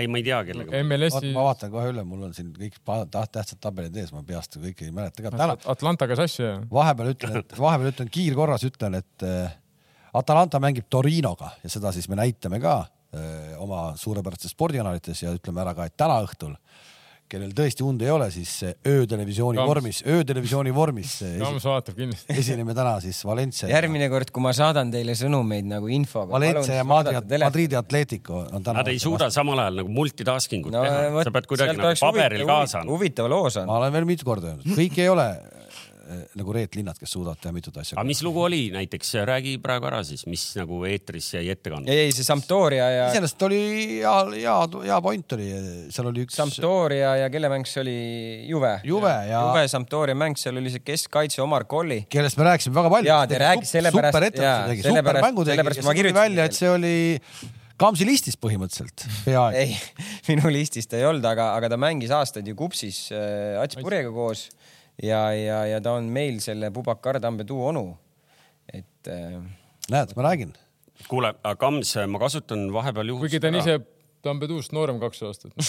S2: ei , ma ei tea , kellega .
S1: oot ,
S4: MLS-i
S1: ma vaatan kohe üle , mul on siin kõik pa- taht- tähtsad tabelid ees , ma peast kõike ei mäleta ka täna .
S4: Atlantaga sassi ja
S1: vahepeal ütlen , et vahepeal ütlen kiirkorras ütlen , et äh, Atalanta mängib Torinoga ja seda siis me näitame ka äh, oma suurepärastes spordikanalites ja ütleme ära ka , et täna õhtul , kellel tõesti und ei ole , siis äh, öötelevisiooni
S4: Kams.
S1: vormis , öötelevisiooni vormis äh, esi-
S4: Kams vaatab kindlasti .
S1: esineme täna siis Valencia .
S3: järgmine kord , kui ma saadan teile sõnumeid nagu infoga .
S1: Valencia ja Madri , Madridi Atletico on täna .
S2: Nad ei suuda samal ajal nagu multitasking ut no, teha , sa pead kuidagi nagu paberil kaasa andma .
S3: huvitav loo saanud .
S1: ma olen veel mitu korda öelnud , kõik ei ole äh, nagu Reet Linnat , kes suudavad teha mitut asja
S2: aga . mis lugu oli näiteks , räägi praegu ära siis , mis nagu eetris jäi ettekandma .
S3: ei , see Sampdoria ja ,
S1: iseenesest oli hea , hea , hea point oli , seal oli üks
S3: Sampdoria ja kelle mäng see oli ? Juve .
S1: Juve ja-
S3: Juve Sampdoria mäng , seal oli see keskkaitse Omar Colli .
S1: kellest me rääkisime väga palju .
S3: Jaa, te räägi- sellepärast-
S1: super
S3: jaa,
S1: etenduse tegi , super
S3: sellepärast-
S1: mängu tegi
S3: sellepärast
S1: ja siis
S3: ma
S1: tuli
S3: kirjutasin
S1: välja , et see oli Kamsi listis põhimõtteliselt peaaegu .
S3: ei , minu listis ta ei olnud , aga , aga ta mängis aastaid ju kupsis äh, Ats Purjega koos ja , ja , ja ta on meil selle Pubakar Tambe tuu onu . et äh,
S1: näed , ma räägin ,
S2: kuule , aga Kams , ma kasutan vahepeal
S4: kuigi ta
S2: juhust
S4: on , ise Tambeduust noorem kaks aastat .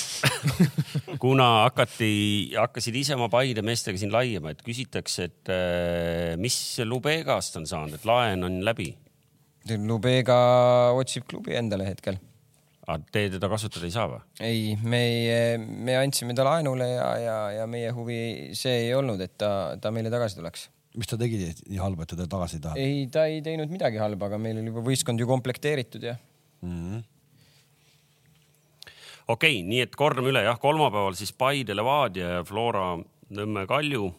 S2: kuna hakati , hakkasid ise oma Paide meestega siin laiema , et küsitakse , et äh, mis Lubegast on saanud , et laen on läbi ,
S3: Lubega otsib klubi endale hetkel .
S2: aga Ah, te teda kasutada ei saa või ?
S3: ei , meie , me andsime ta laenule ja , ja , ja meie huvi see ei olnud , et ta , ta meile tagasi tuleks .
S1: mis ta tegi nii halba , et teda tagasi ei taha ?
S3: ei , ta ei teinud midagi halba , aga meil oli juba võistkond ju komplekteeritud ja
S1: Mhm.
S2: okei okay, , nii et kordame üle jah , kolmapäeval siis Paide , Levadia ja Flora , Nõmme , Kalju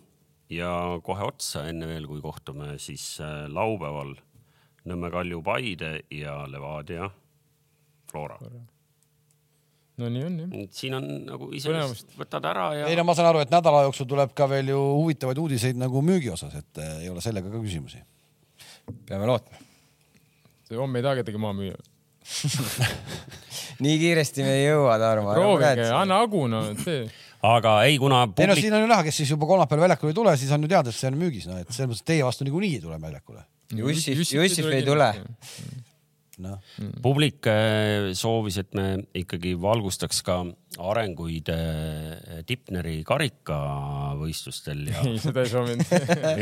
S2: ja kohe otsa enne veel , kui kohtume siis äh, laupäeval Nõmme , Kalju , Paide ja Levadia , Flora .
S4: no nii on jah .
S2: siin on nagu
S4: Põnevust.
S2: iseenesest võtad ära ja
S1: ei no ma saan aru , et nädala jooksul tuleb ka veel ju huvitavaid uudiseid nagu müügi osas , et äh, ei ole sellega ka küsimusi .
S3: peame lootma .
S4: homme ei taha kedagi maha müüa .
S3: nii kiiresti me ei jõua , Tarmo .
S4: proovige , anna agu noh , see .
S2: aga ei , kuna
S1: ei no
S2: publik ,
S1: siin on ju näha , kes siis juba kolmapäeval väljakule ei tule , siis on ju teada , et see on müügis , noh et selles mõttes et teie vastu niikuinii ei tule väljakule .
S3: Jussif , Jussif ei tule .
S1: noh ,
S2: publik äh, soovis , et me ikkagi valgustaks ka arenguid äh, Tipneri karikavõistlustel ja ,
S4: ei , seda ei soovinud .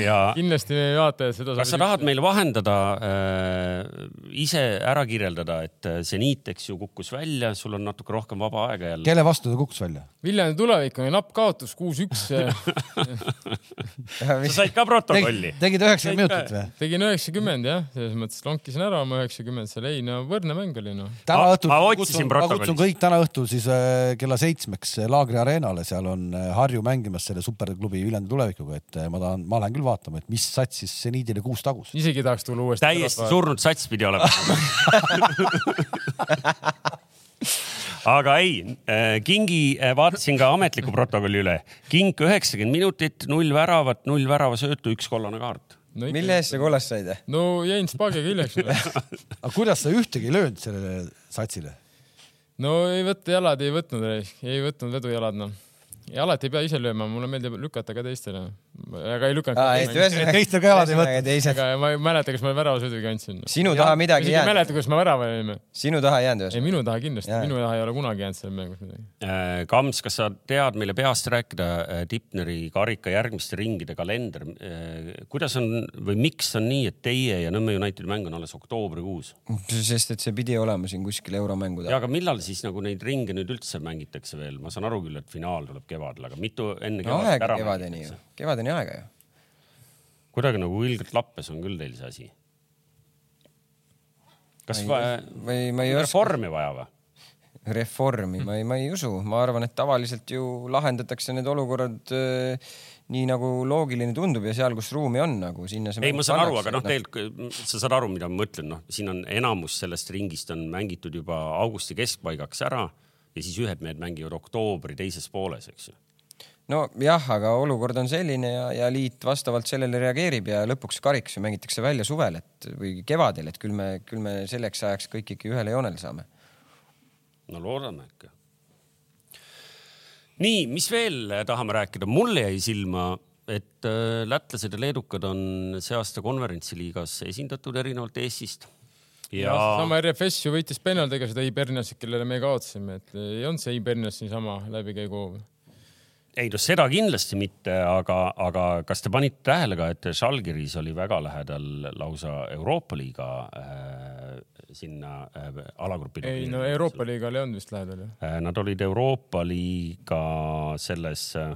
S2: ja
S4: kindlasti meie vaatajad seda .
S2: kas sa tahad meile vahendada äh, , ise ära kirjeldada , et äh, seniit , eks ju , kukkus välja , sul on natuke rohkem vaba aega jälle .
S1: kelle vastu ta kukkus välja ?
S4: Viljandi tulevik on ju napp kaotus , kuus-üks .
S2: sa said ka protokolli ?
S1: tegid üheksakümmend minutit või ?
S4: tegin üheksakümmend jah , selles mõttes lonkisin ära oma üheksakümmend seal , ei no võrdne mäng oli noh .
S1: täna
S2: Ma-
S1: õhtul
S2: ma otsisin
S1: kutsun, ma
S2: protokollist.
S1: kutsun kõik täna õhtul siis äh, kella seitsmeks äh, Laagri Arenale , seal on äh, Harju mängimas selle superklubi Viljandi tulevikuga , et äh, ma tahan , ma lähen küll vaatama , et mis sats siis seniidile kuus tagus .
S4: isegi ei tahaks tulla uuesti .
S2: täiesti . surnud sats pidi olema . aga ei , Kingi , vaatasin ka ametliku protokolli üle . King üheksakümmend minutit , null väravat , null väravasöötu , üks kollane kaart .
S4: no, ikka-
S3: mille eest sa kollast said ?
S4: no jäin spaagiga hiljaks . noh.
S1: aga kuidas sa ühtegi ei löönud sellele satsile ?
S4: no ei võta , jalad ei võtnud , ei võtnud vedujalad noh . ja alati ei pea ise lööma , mulle meeldib lükata ka teistele . aga ei lükanud .
S1: teistel ka jalad ei võta.
S3: teised .
S4: ega ma ei mäleta , kas ma väravasõiduga andsin .
S3: sinu taha midagi ei
S4: isegi ei
S3: jäänud ,
S4: mäleta , kus me värava jäime .
S3: sinu taha ei jäänud
S4: ei ,
S3: ühesõnaga .
S4: minu taha kindlasti
S3: Jaa. ,
S4: minu taha ei ole kunagi jäänud seal mängus midagi .
S2: Äh, Kams , kas sa tead meile peast rääkida äh, Tipneri karika järgmiste ringide kalender ? kuidas on või miks on nii , et teie ja Nõmme Unitedi mäng on alles oktoobrikuus ?
S3: sest et see pidi olema siin kuskil euromängude
S2: ja . aga millal siis nagu neid ringe nüüd üldse mängitakse veel ? ma saan aru küll , et finaal tuleb kevadel , aga mitu enne
S3: no
S2: kevadet
S3: aega
S2: ära
S3: kevadeni ju
S2: mängitakse ?,
S3: kevadeni aega ju .
S2: kuidagi nagu ilgelt lappes on küll teil see asi . kas
S3: Ei,
S2: vaja ,
S3: või ma ei oska
S2: reformi vaja või ?
S3: reformi , ma ei , ma ei usu , ma arvan , et tavaliselt ju lahendatakse need olukorrad öö, nii nagu loogiline tundub ja seal , kus ruumi on nagu sinna .
S2: ei , ma saan aru , aga noh ,. tegelikult sa saad aru , mida ma mõtlen , noh , siin on enamus sellest ringist on mängitud juba augusti keskpaigaks ära ja siis ühed mehed mängivad oktoobri teises pooles , eks ju .
S3: nojah , aga olukord on selline ja , ja liit vastavalt sellele reageerib ja lõpuks kariks ju mängitakse välja suvel , et või kevadel , et küll me , küll me selleks ajaks kõik ikka ühele joonele saame .
S2: no loodame ikka . nii , mis veel tahame rääkida , mul jäi silma , et äh, lätlased ja leedukad on see aasta konverentsiliigas esindatud erinevalt Eestist . ja
S4: sama RFS ju võitis pennaldega seda Iberniasit , kellele me kaotasime , et ei olnud see Ibernias niisama läbikäigu .
S2: ei no seda kindlasti mitte , aga , aga kas te panite tähele ka , et Žalgiris oli väga lähedal lausa Euroopa liiga äh, sinna äh, alagrupi .
S4: ei no Euroopa liigal ei olnud vist lähedal ju .
S2: Nad olid Euroopa liiga selles äh,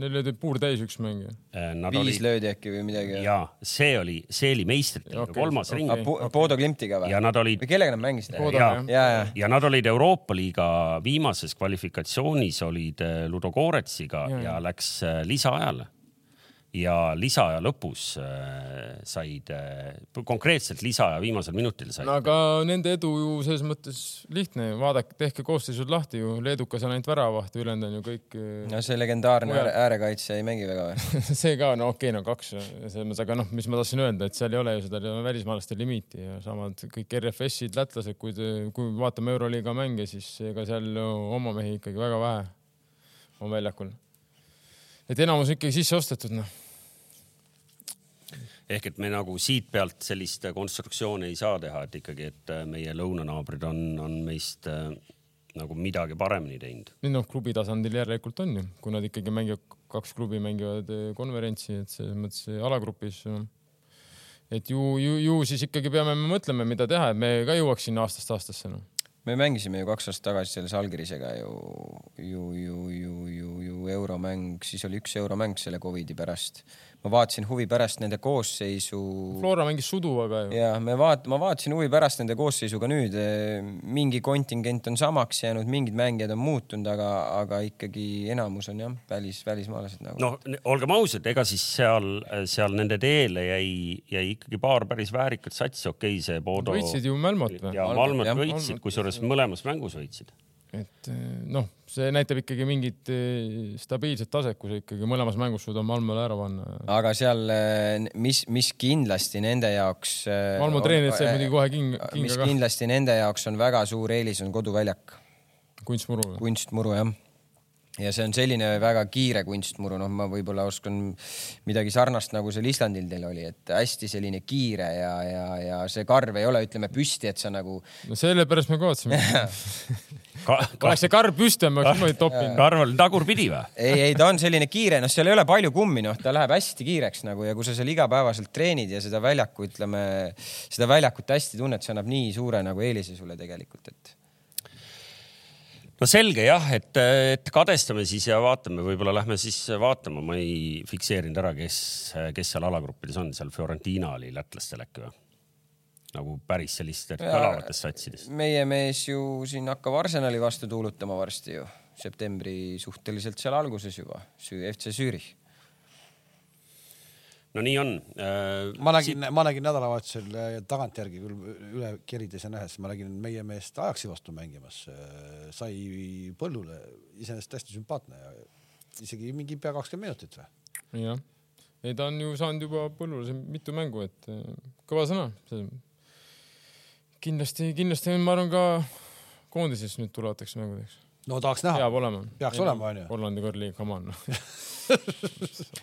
S4: Neil oli puur täis üks mängija .
S2: nad
S3: viis
S2: olid-
S3: löödi äkki või midagi .
S2: ja see oli , see oli meistrite okay,
S4: Okei,
S2: kolmas
S4: okei.
S2: okay. ring
S3: Bodo Klimtiga või
S2: ja ? nad olid
S3: või kellega nad mängisid ?
S4: Bodo-
S3: ja ,
S2: ja,
S4: jah.
S2: ja ,
S3: ja ,
S2: ja nad olid Euroopa liiga viimases kvalifikatsioonis olid eh, Ludo Koretsiga ja, ja.
S4: Ja, ja.
S2: ja läks eh, lisaajale . ja lisaaja lõpus eh, said , konkreetselt lisaaja viimasel minutil said no. .
S4: aga nende edu ju selles mõttes lihtne , vaadake , tehke koosseisud lahti ju , leedukas on ainult väravaht , ülejäänud on ju kõik . äh,
S3: no see legendaarne
S4: Mujal.
S3: ääre- äärekaitse ei mängi väga või ?
S4: see ka , no okei okay, , no kaks selles mõttes , aga noh , mis ma tahtsin öelda , et seal ei ole ju seda välismaalaste limiiti ja samad kõik RFS-id , lätlased , kui , kui vaatame Euroliiga mänge , siis ega seal ju oma mehi ikkagi väga vähe on väljakul . et enamus ikkagi sisse ostetud , noh .
S2: ehk et me nagu siit pealt sellist äh, konstruktsiooni ei saa teha, et ikkagi, et äh, meie lõunanaabrid on , on meist äh, nagu midagi paremini teinud .
S4: nüüd noh , klubi tasandil järelikult on ju , kui nad ikkagi mängivad , kaks klubi mängivad eh, konverentsi , et selles mõttes eh, alagrupis . et ju , ju , ju siis ikkagi peame me mõtlema , mida teha , et me ka jõuaks sinna aastast aastasse noh .
S3: me mängisime ju kaks aastat tagasi selle Salgirisega ju , ju , ju , ju , ju , ju euromäng , siis oli üks euromäng selle Covidi pärast . ma vaatasin huvi pärast nende koosseisu .
S4: Flora mängis suduvaga ju .
S3: ja me vaat- , ma vaatasin huvi pärast nende koosseisuga nüüd , mingi kontingent on samaks jäänud , mingid mängijad on muutunud , aga , aga ikkagi enamus on jah , välis , välismaalased nagu no. .
S2: noh , olgem ausad , ega siis seal , seal nende teele jäi , jäi ikkagi paar päris väärikat satsi , okei okay, , see Bodo .
S4: võitsid ju Mälmot või ?
S2: ja
S3: Malmot,
S2: Malmot
S3: jah.
S2: võitsid , kusjuures mõlemas mängus võitsid .
S4: et eh, noh , see näitab ikkagi mingit eh, stabiilset taset , kui sa ikkagi mõlemas mängus suudad Malmole ära panna .
S3: aga seal , mis , mis kindlasti nende jaoks . eh,
S4: Malmo treenerid said muidugi kohe king- ,
S3: mis
S4: kinga ka .
S3: kindlasti nende jaoks on väga suur eelis , on koduväljak ,
S4: kunstmuru .
S3: kunstmuru jah ja see on selline väga kiire kunstmuru , noh , ma võib-olla oskan midagi sarnast , nagu seal Islandil teil oli , et hästi selline kiire ja , ja , ja see karv ei ole , ütleme püsti , et sa nagu
S4: no sellepärast me kaotasime . oleks
S2: Karl
S4: see karv püsti , ma oleks niimoodi toppinud .
S2: oli tagurpidi või ?
S3: ei , ei ta on selline kiire , noh , seal ei ole palju kummi , noh , ta läheb hästi kiireks nagu ja kui sa seal igapäevaselt treenid ja seda väljaku , ütleme seda väljakut hästi tunned , see annab nii suure nagu eelise sulle tegelikult , et
S2: no selge jah , et , et kadestame siis ja vaatame , võib-olla lähme siis vaatama , ma ei fikseerinud ära , kes , kes seal alagruppides on , seal Fiorentina oli lätlastel äkki või ? nagu päris sellistest kõlavatest satsidest .
S3: meie mees ju siin hakkab Arsenali vastu tuulutama varsti ju , septembri suhteliselt seal alguses juba , FC Zürich .
S2: no nii on . äh,
S1: ma nägin , ma nägin nädalavahetusel äh, tagantjärgi küll üle kerides ja nähes , ma nägin meie meest Ajaxi vastu mängimas , sai põllule , iseenesest hästi sümpaatne , isegi mingi pea kakskümmend minutit või ?
S4: jah , ei ta on ju saanud juba põllule siin mitu mängu , et eh, kõva sõna . kindlasti , kindlasti ma arvan ka koondises nüüd tulevateks mängudeks .
S1: no tahaks näha ,
S4: peab olema .
S1: Ah. Peaks olema, on ju.
S4: Hollandi korvpalli , come on .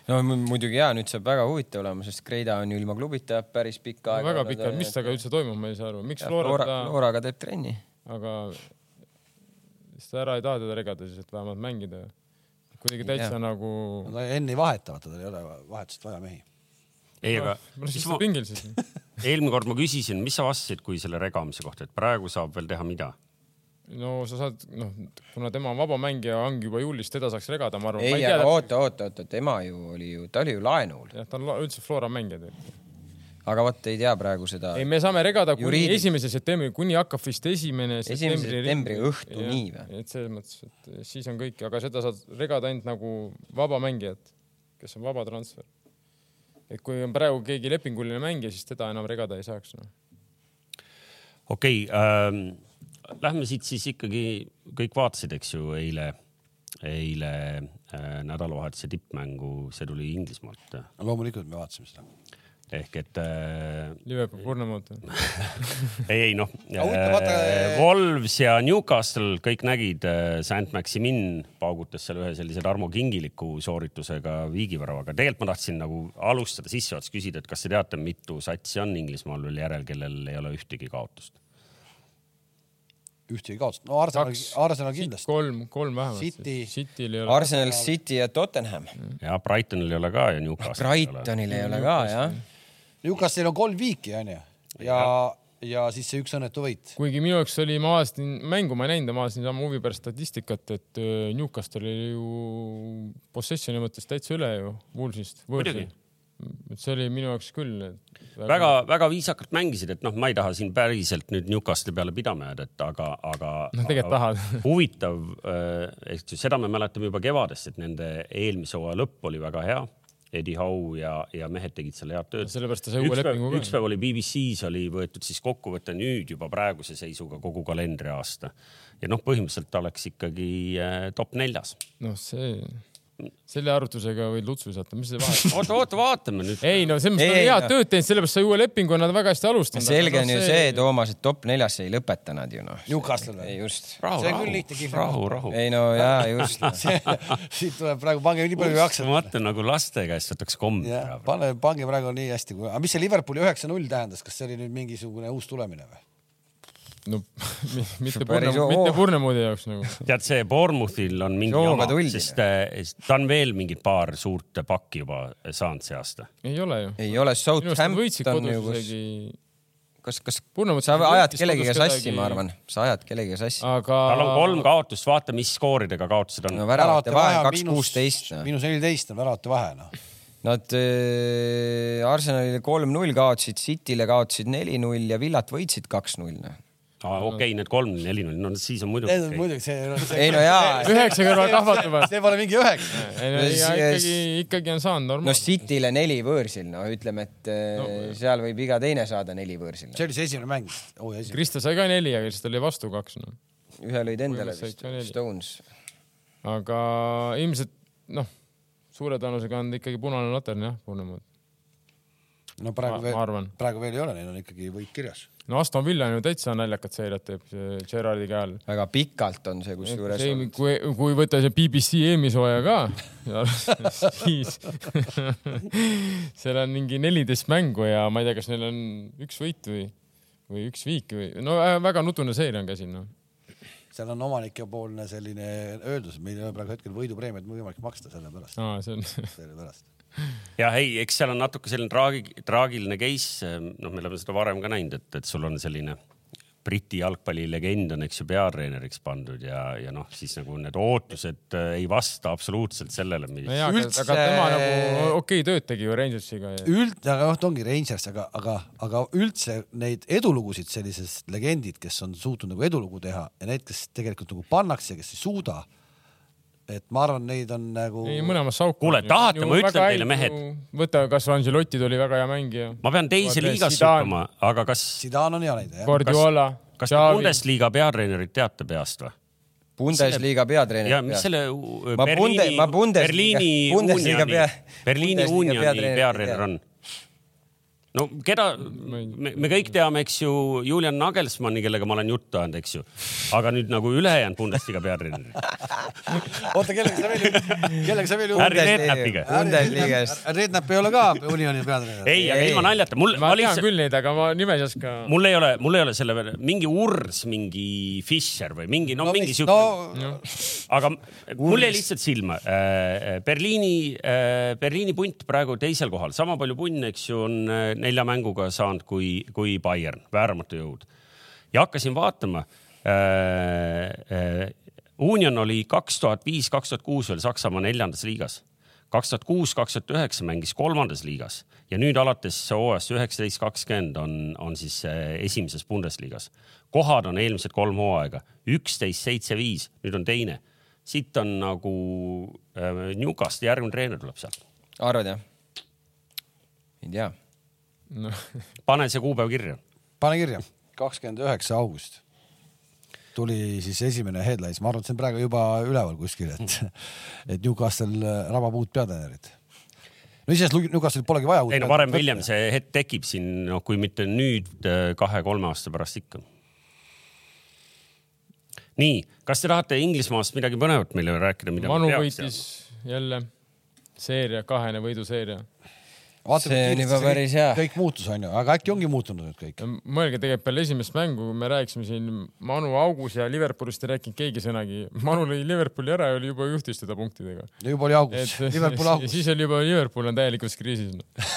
S3: no mu- muidugi ja nüüd saab väga huvitav olema , sest Kreida on ju ilma klubita päris pikka aega .
S4: väga pikalt , mis temaga üldse toimub , ma ei saa aru , miks
S3: Flora ,
S4: Florata ,
S3: Floraga teeb trenni .
S4: aga kas ta ära ei taha teda regada siis , et vähemalt mängida ? kuidagi täitsa nagu ,
S1: no, enne ei vaheta , vaata tal ei ole vahetusest vaja mehi .
S2: ei , aga
S4: no Ah, siis
S2: siis
S4: ta
S2: ma
S4: pingil siis .
S2: eelmine kord ma küsisin , mis sa vastasid , kui selle regamise kohta , et praegu saab veel teha mida ?
S4: no sa saad , noh , kuna tema on vaba mängija , ongi juba juulis , teda saaks regada , ma arvan .
S3: ei , aga oota , oota , oota , tema ju oli ju , ta oli ju laenul ,
S4: jah , ta on la- üldse Flora mängija tegelikult .
S3: aga vot ei tea praegu seda .
S4: ei , me saame regada kuni
S3: Juriidiliselt.
S4: esimese septembri , kuni hakkab vist esimene
S3: septembri õhtuni
S4: Jah,
S3: või?
S4: et selles mõttes , et siis on kõik , aga seda saad regada ainult nagu vaba mängijat , kes on vaba transfer . et kui on praegu keegi lepinguline mängija , siis teda enam regada ei saaks noh. no. .
S2: okei ähm, , lähme siit siis ikkagi , kõik vaatasid , eks ju , eile , eile äh, nädalavahetuse tippmängu , see tuli Inglismaalt
S1: loomulikult me vaatasime seda .
S2: ehk et äh,
S4: Liverpool , Burnemouth .
S2: ei , ei noh
S1: Aga huvitav, vaata- , äh,
S2: Wolves ja Newcastle kõik nägid äh, , Saint-Maximin paugutas seal ühe sellise Tarmo Kingiliku sooritusega viigiväravaga . tegelikult ma tahtsin nagu alustada sissejuhatuseks küsida , et kas te teate , mitu satsi on Inglismaal veel järel , kellel ei ole ühtegi kaotust ?
S1: ühtegi kaotust , no Arsenal , Arsenal kindlasti .
S4: kolm , kolm vähemalt
S1: City. .
S4: Cityl ei ole . Mm.
S3: Arsenal , City ja Tottenham .
S2: ja Brightonil ei ole ka ja Newcastle .
S3: Brightonil ei ole ka jah .
S1: Newcastle'il on kolm viiki , onju . ja , ja siis see üks õnnetu võit .
S4: kuigi minu jaoks oli , ma vaatasin mängu , ma ei näinud , ma vaatasin sama huvi pärast statistikat , et öö, Newcastle oli ju possessioni mõttes täitsa üle ju Woolsist .
S2: Muidugi.
S4: see oli minu jaoks küll .
S2: väga-väga viisakalt mängisid , et noh , ma ei taha siin päriselt nüüd Newcastle peale pidama jääda , et aga , aga .
S4: Noh, tegelikult tahad.
S2: huvitav , eks ju , seda me mäletame juba kevadest , et nende eelmise hooaja lõpp oli väga hea . Eddie Howe ja , ja mehed tegid seal head tööd .
S4: Sellepärast ta sai uue lepingu ka.
S2: üks päev oli BBC-s oli võetud siis kokkuvõte nüüd juba praeguse seisuga kogu kalendriaasta ja noh , põhimõtteliselt ta oleks ikkagi äh, top eh, neljas .
S4: noh , see , selle arvutusega võid lutsu visata , mis see vahe on ?
S2: oota , oota , vaatame nüüd .
S4: ei no selles mõttes
S3: Ei,
S4: nad on
S3: ei,
S4: head
S3: no.
S4: tööd teinud , sellepärast sai uue lepingu ja nad on väga hästi alustanud . noh,
S3: selge on ju see , Toomas , et top neljasse ei lõpeta nad ju noh .
S1: Newcastle või ?
S3: just .
S2: rahu ,
S1: See on küll
S2: rahu
S1: lihtne , kihla.
S2: rahu , rahu .
S3: ei no jaa , just .
S1: siit tuleb praegu , pange nii palju jaksa .
S2: vaata nagu laste käest võtaks kommi
S1: jah
S2: ära ,
S1: pane , pange praegu nii hästi , aga mis see Liverpooli üheksa-null tähendas , kas see oli nüüd mingisugune uus tulemine või ?
S4: no mi- mitte
S3: Päris
S4: purne ,
S3: oo.
S4: mitte purnemoodi jaoks nagu .
S2: tead , see Bournemouthil on mingi
S3: Jooga
S2: jama ,
S3: tuldine.
S2: sest eh, ta on veel mingi paar suurt pakki juba saanud see aasta .
S4: ei ole ju .
S3: ei ole
S4: minu arust nad võitsid
S3: Southampton ju kus ,
S4: kodus isegi ,
S3: kas , kas
S4: Purnemouth
S3: sa ajad
S4: võitis
S3: kellegagi
S4: kodus
S3: sassi ,
S4: kedagi- Ah,
S3: ma arvan , sa ajad kellegagi sassi .
S4: aga .
S2: tal on kolm kaotust , vaata , mis skooridega kaotused on
S3: no . väravate vahe on kaks kuusteist . noh.
S1: miinus neliteist on väravate vahe noh .
S3: Nad äh, Arsenalile kolm-null kaotsid , Cityle kaotsid neli-null ja Villat võitsid noh. kaks-null .
S2: okei , need kolm , neli , null , no siis on muidugi
S1: Need on
S2: okei .
S1: muidugi see, see ,
S3: ei no jaa ,
S4: üheksa kõrval kahvatavad .
S1: see pole mingi üheksa .
S4: ei no
S3: Yes,
S4: ja
S3: yes.
S4: ikkagi , ikkagi on saanud
S3: no
S4: normaalselt .
S3: Cityle neli võõrsil , no ütleme , et äh, seal võib iga teine saada neli võõrsil .
S1: see oli see esimene mäng oh, .
S4: Krista sai ka neli , aga siis tal oli vastu kaks noh. no. .
S3: ühe lõid endale
S4: Kuidas
S3: vist
S4: said ka , neli?
S3: Stones .
S4: aga ilmselt noh , suure tõenäosusega on ta ikkagi punane latern jah , Purnemoodi .
S1: no praegu
S4: Ma- ma
S1: veel
S4: arvan. ,
S1: praegu veel ei ole , neil on ikkagi võit kirjas .
S4: no Aston Villa on ju täitsa naljakat seiret teeb see Gerardi käe all .
S3: väga pikalt on see kusjuures .
S4: kui , kui võtta see BBC eelmishooaja ka , siis seal on mingi neliteist mängu ja ma ei tea , kas neil on üks võit või , või üks viik või no äh, väga nutune seire on käsil noh .
S1: seal on omanikepoolne selline öeldus , meil ei ole praegu hetkel võidupreemiat võimalik maksta sellepärast ,
S4: aa , see on
S1: sellepärast .
S2: jah , ei , eks seal on natuke selline traagi- , traagiline case , noh , me oleme seda varem ka näinud , et , et sul on selline Briti jalgpallilegend on , eks ju , peatreeneriks pandud ja , ja noh , siis nagu need ootused äh, ei vasta absoluutselt sellele , mis
S4: no jaa , aga
S3: Üldse-
S4: aga tema nagu okei okay, tööd tegi ju Rangersiga ja
S1: üld- , aga noh , ta ongi Rangers , aga , aga , aga üldse neid edulugusid , sellised legendid , kes on suutnud nagu edulugu teha ja need , kes tegelikult nagu pannakse , kes ei suuda . et ma arvan , neid on nagu .
S4: ei mõlemas sauk .
S2: Kuule, tahate, ma ütlen teile, mehed. .
S4: võta kas Angelotti tuli väga hea mängija .
S2: ma pean teise
S4: Vaata,
S2: liigasse
S4: Zidane.
S2: hüppama , aga kas ,
S1: Zidane on hea näide jah .
S4: Guardiola ,
S2: kas te
S4: Xavi ,
S2: Bundesliga peatreenerit teate peast või ?
S3: Bundesliga
S2: ja
S3: peatreener
S2: mis . selle u-
S3: Ma
S2: Berliini
S3: Bunde- ma , Bundesliga-
S2: Berliini
S3: Bundesliga
S2: Unioni
S3: pea- ,
S2: Berliini
S3: Bundesliga
S2: Unioni
S3: peatreenerit ei
S2: peatreener
S3: tea.
S2: on ? no keda , me, me kõik teame , eks ju , Julian Nagelsmanni , kellega ma olen juttu ajanud , eks ju , aga nüüd nagu ülejäänud Bundesliga peatreenerid ,
S1: oota , kellega sa veel , kellega sa veel
S2: Harry Redknapiga .
S3: Bundesligas .
S1: Rednap ei ole ka Unioni peatreener .
S2: ei , aga
S3: Ei.
S2: ilma naljata , mul ,
S4: ma
S2: ma
S4: tean
S2: lihtsalt ,
S4: küll neid , aga ma nime ei oska .
S2: mul ei ole , mul ei ole selle peale , mingi Urs , mingi Fischer või mingi , no mingi siuke no, ,
S1: no, .
S2: aga mul jäi lihtsalt silma äh, . Berliini äh, , Berliini punt praegu teisel kohal , sama palju punne , eks ju , on äh, nelja mänguga saanud kui , kui Bayern , vääramatu jõud . ja hakkasin vaatama äh, . Äh, Union oli kaks tuhat viis , kaks tuhat kuus veel Saksamaa neljandas liigas , kaks tuhat kuus , kaks tuhat üheksa mängis kolmandas liigas ja nüüd alates hooajast üheksateist , kakskümmend on , on siis äh, esimeses Bundesligas . kohad on eelmised kolm hooaega üksteist , seitse , viis , nüüd on teine siit on nagu äh, Newcast , järgmine treener tuleb sealt .
S3: arvad jah ? ei tea .
S2: pane see kuupäev kirja .
S1: pane kirja , kakskümmend üheksa august tuli siis esimene headlines , ma arvan , et see on praegu juba üleval kuskil , et et Newcastle äh, rabab uut peatreenerit . no iseenesest Newcastle polegi vaja uut
S2: ei no varem või hiljem see hetk tekib siin , noh , kui mitte nüüd äh, kahe-kolme aasta pärast ikka . nii , kas te tahate Inglismaast midagi põnevat meile rääkida , mida
S4: Manu
S2: me peaks
S4: võitis jälle seeria , kahene võiduseeria .
S1: Vaatame,
S3: See on
S1: kiiresti
S3: juba
S1: kõik-
S3: päris hea.
S1: kõik muutus , onju , aga äkki ongi muutunud nüüd kõik .
S4: mõelge tegelikult peale esimest mängu , me rääkisime siin Manu augus ja Liverpoolist ei rääkinud keegi sõnagi . Manu lõi Liverpooli ära ja oli juba juhtis teda punktidega .
S1: juba oli augus , Liverpool
S4: ja
S1: augus .
S4: siis oli juba Liverpool on täielikus kriisis noh. no. .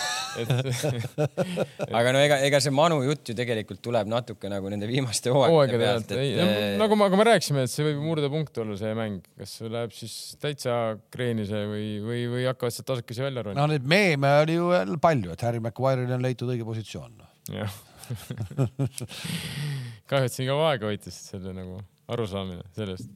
S3: aga no ega , ega see Manu jutt ju tegelikult tuleb natuke nagu nende viimaste hooaegade
S4: hooaegade
S3: pealt ,
S4: pealt , ei
S3: et , nagu...
S4: nagu me , aga me rääkisime , et see võib murdepunkt olla , see mäng , kas see läheb siis täitsa kreeni see või , või , või hakkavad sealt tasakesi välja
S3: Ah.
S4: ronima
S1: no neid meeme oli ju jälle palju , et Harry Maguire'il on leitud õige positsioon . noh.
S4: no. . kahju , et siin kaua aega võitis selle nagu arusaamine sellest .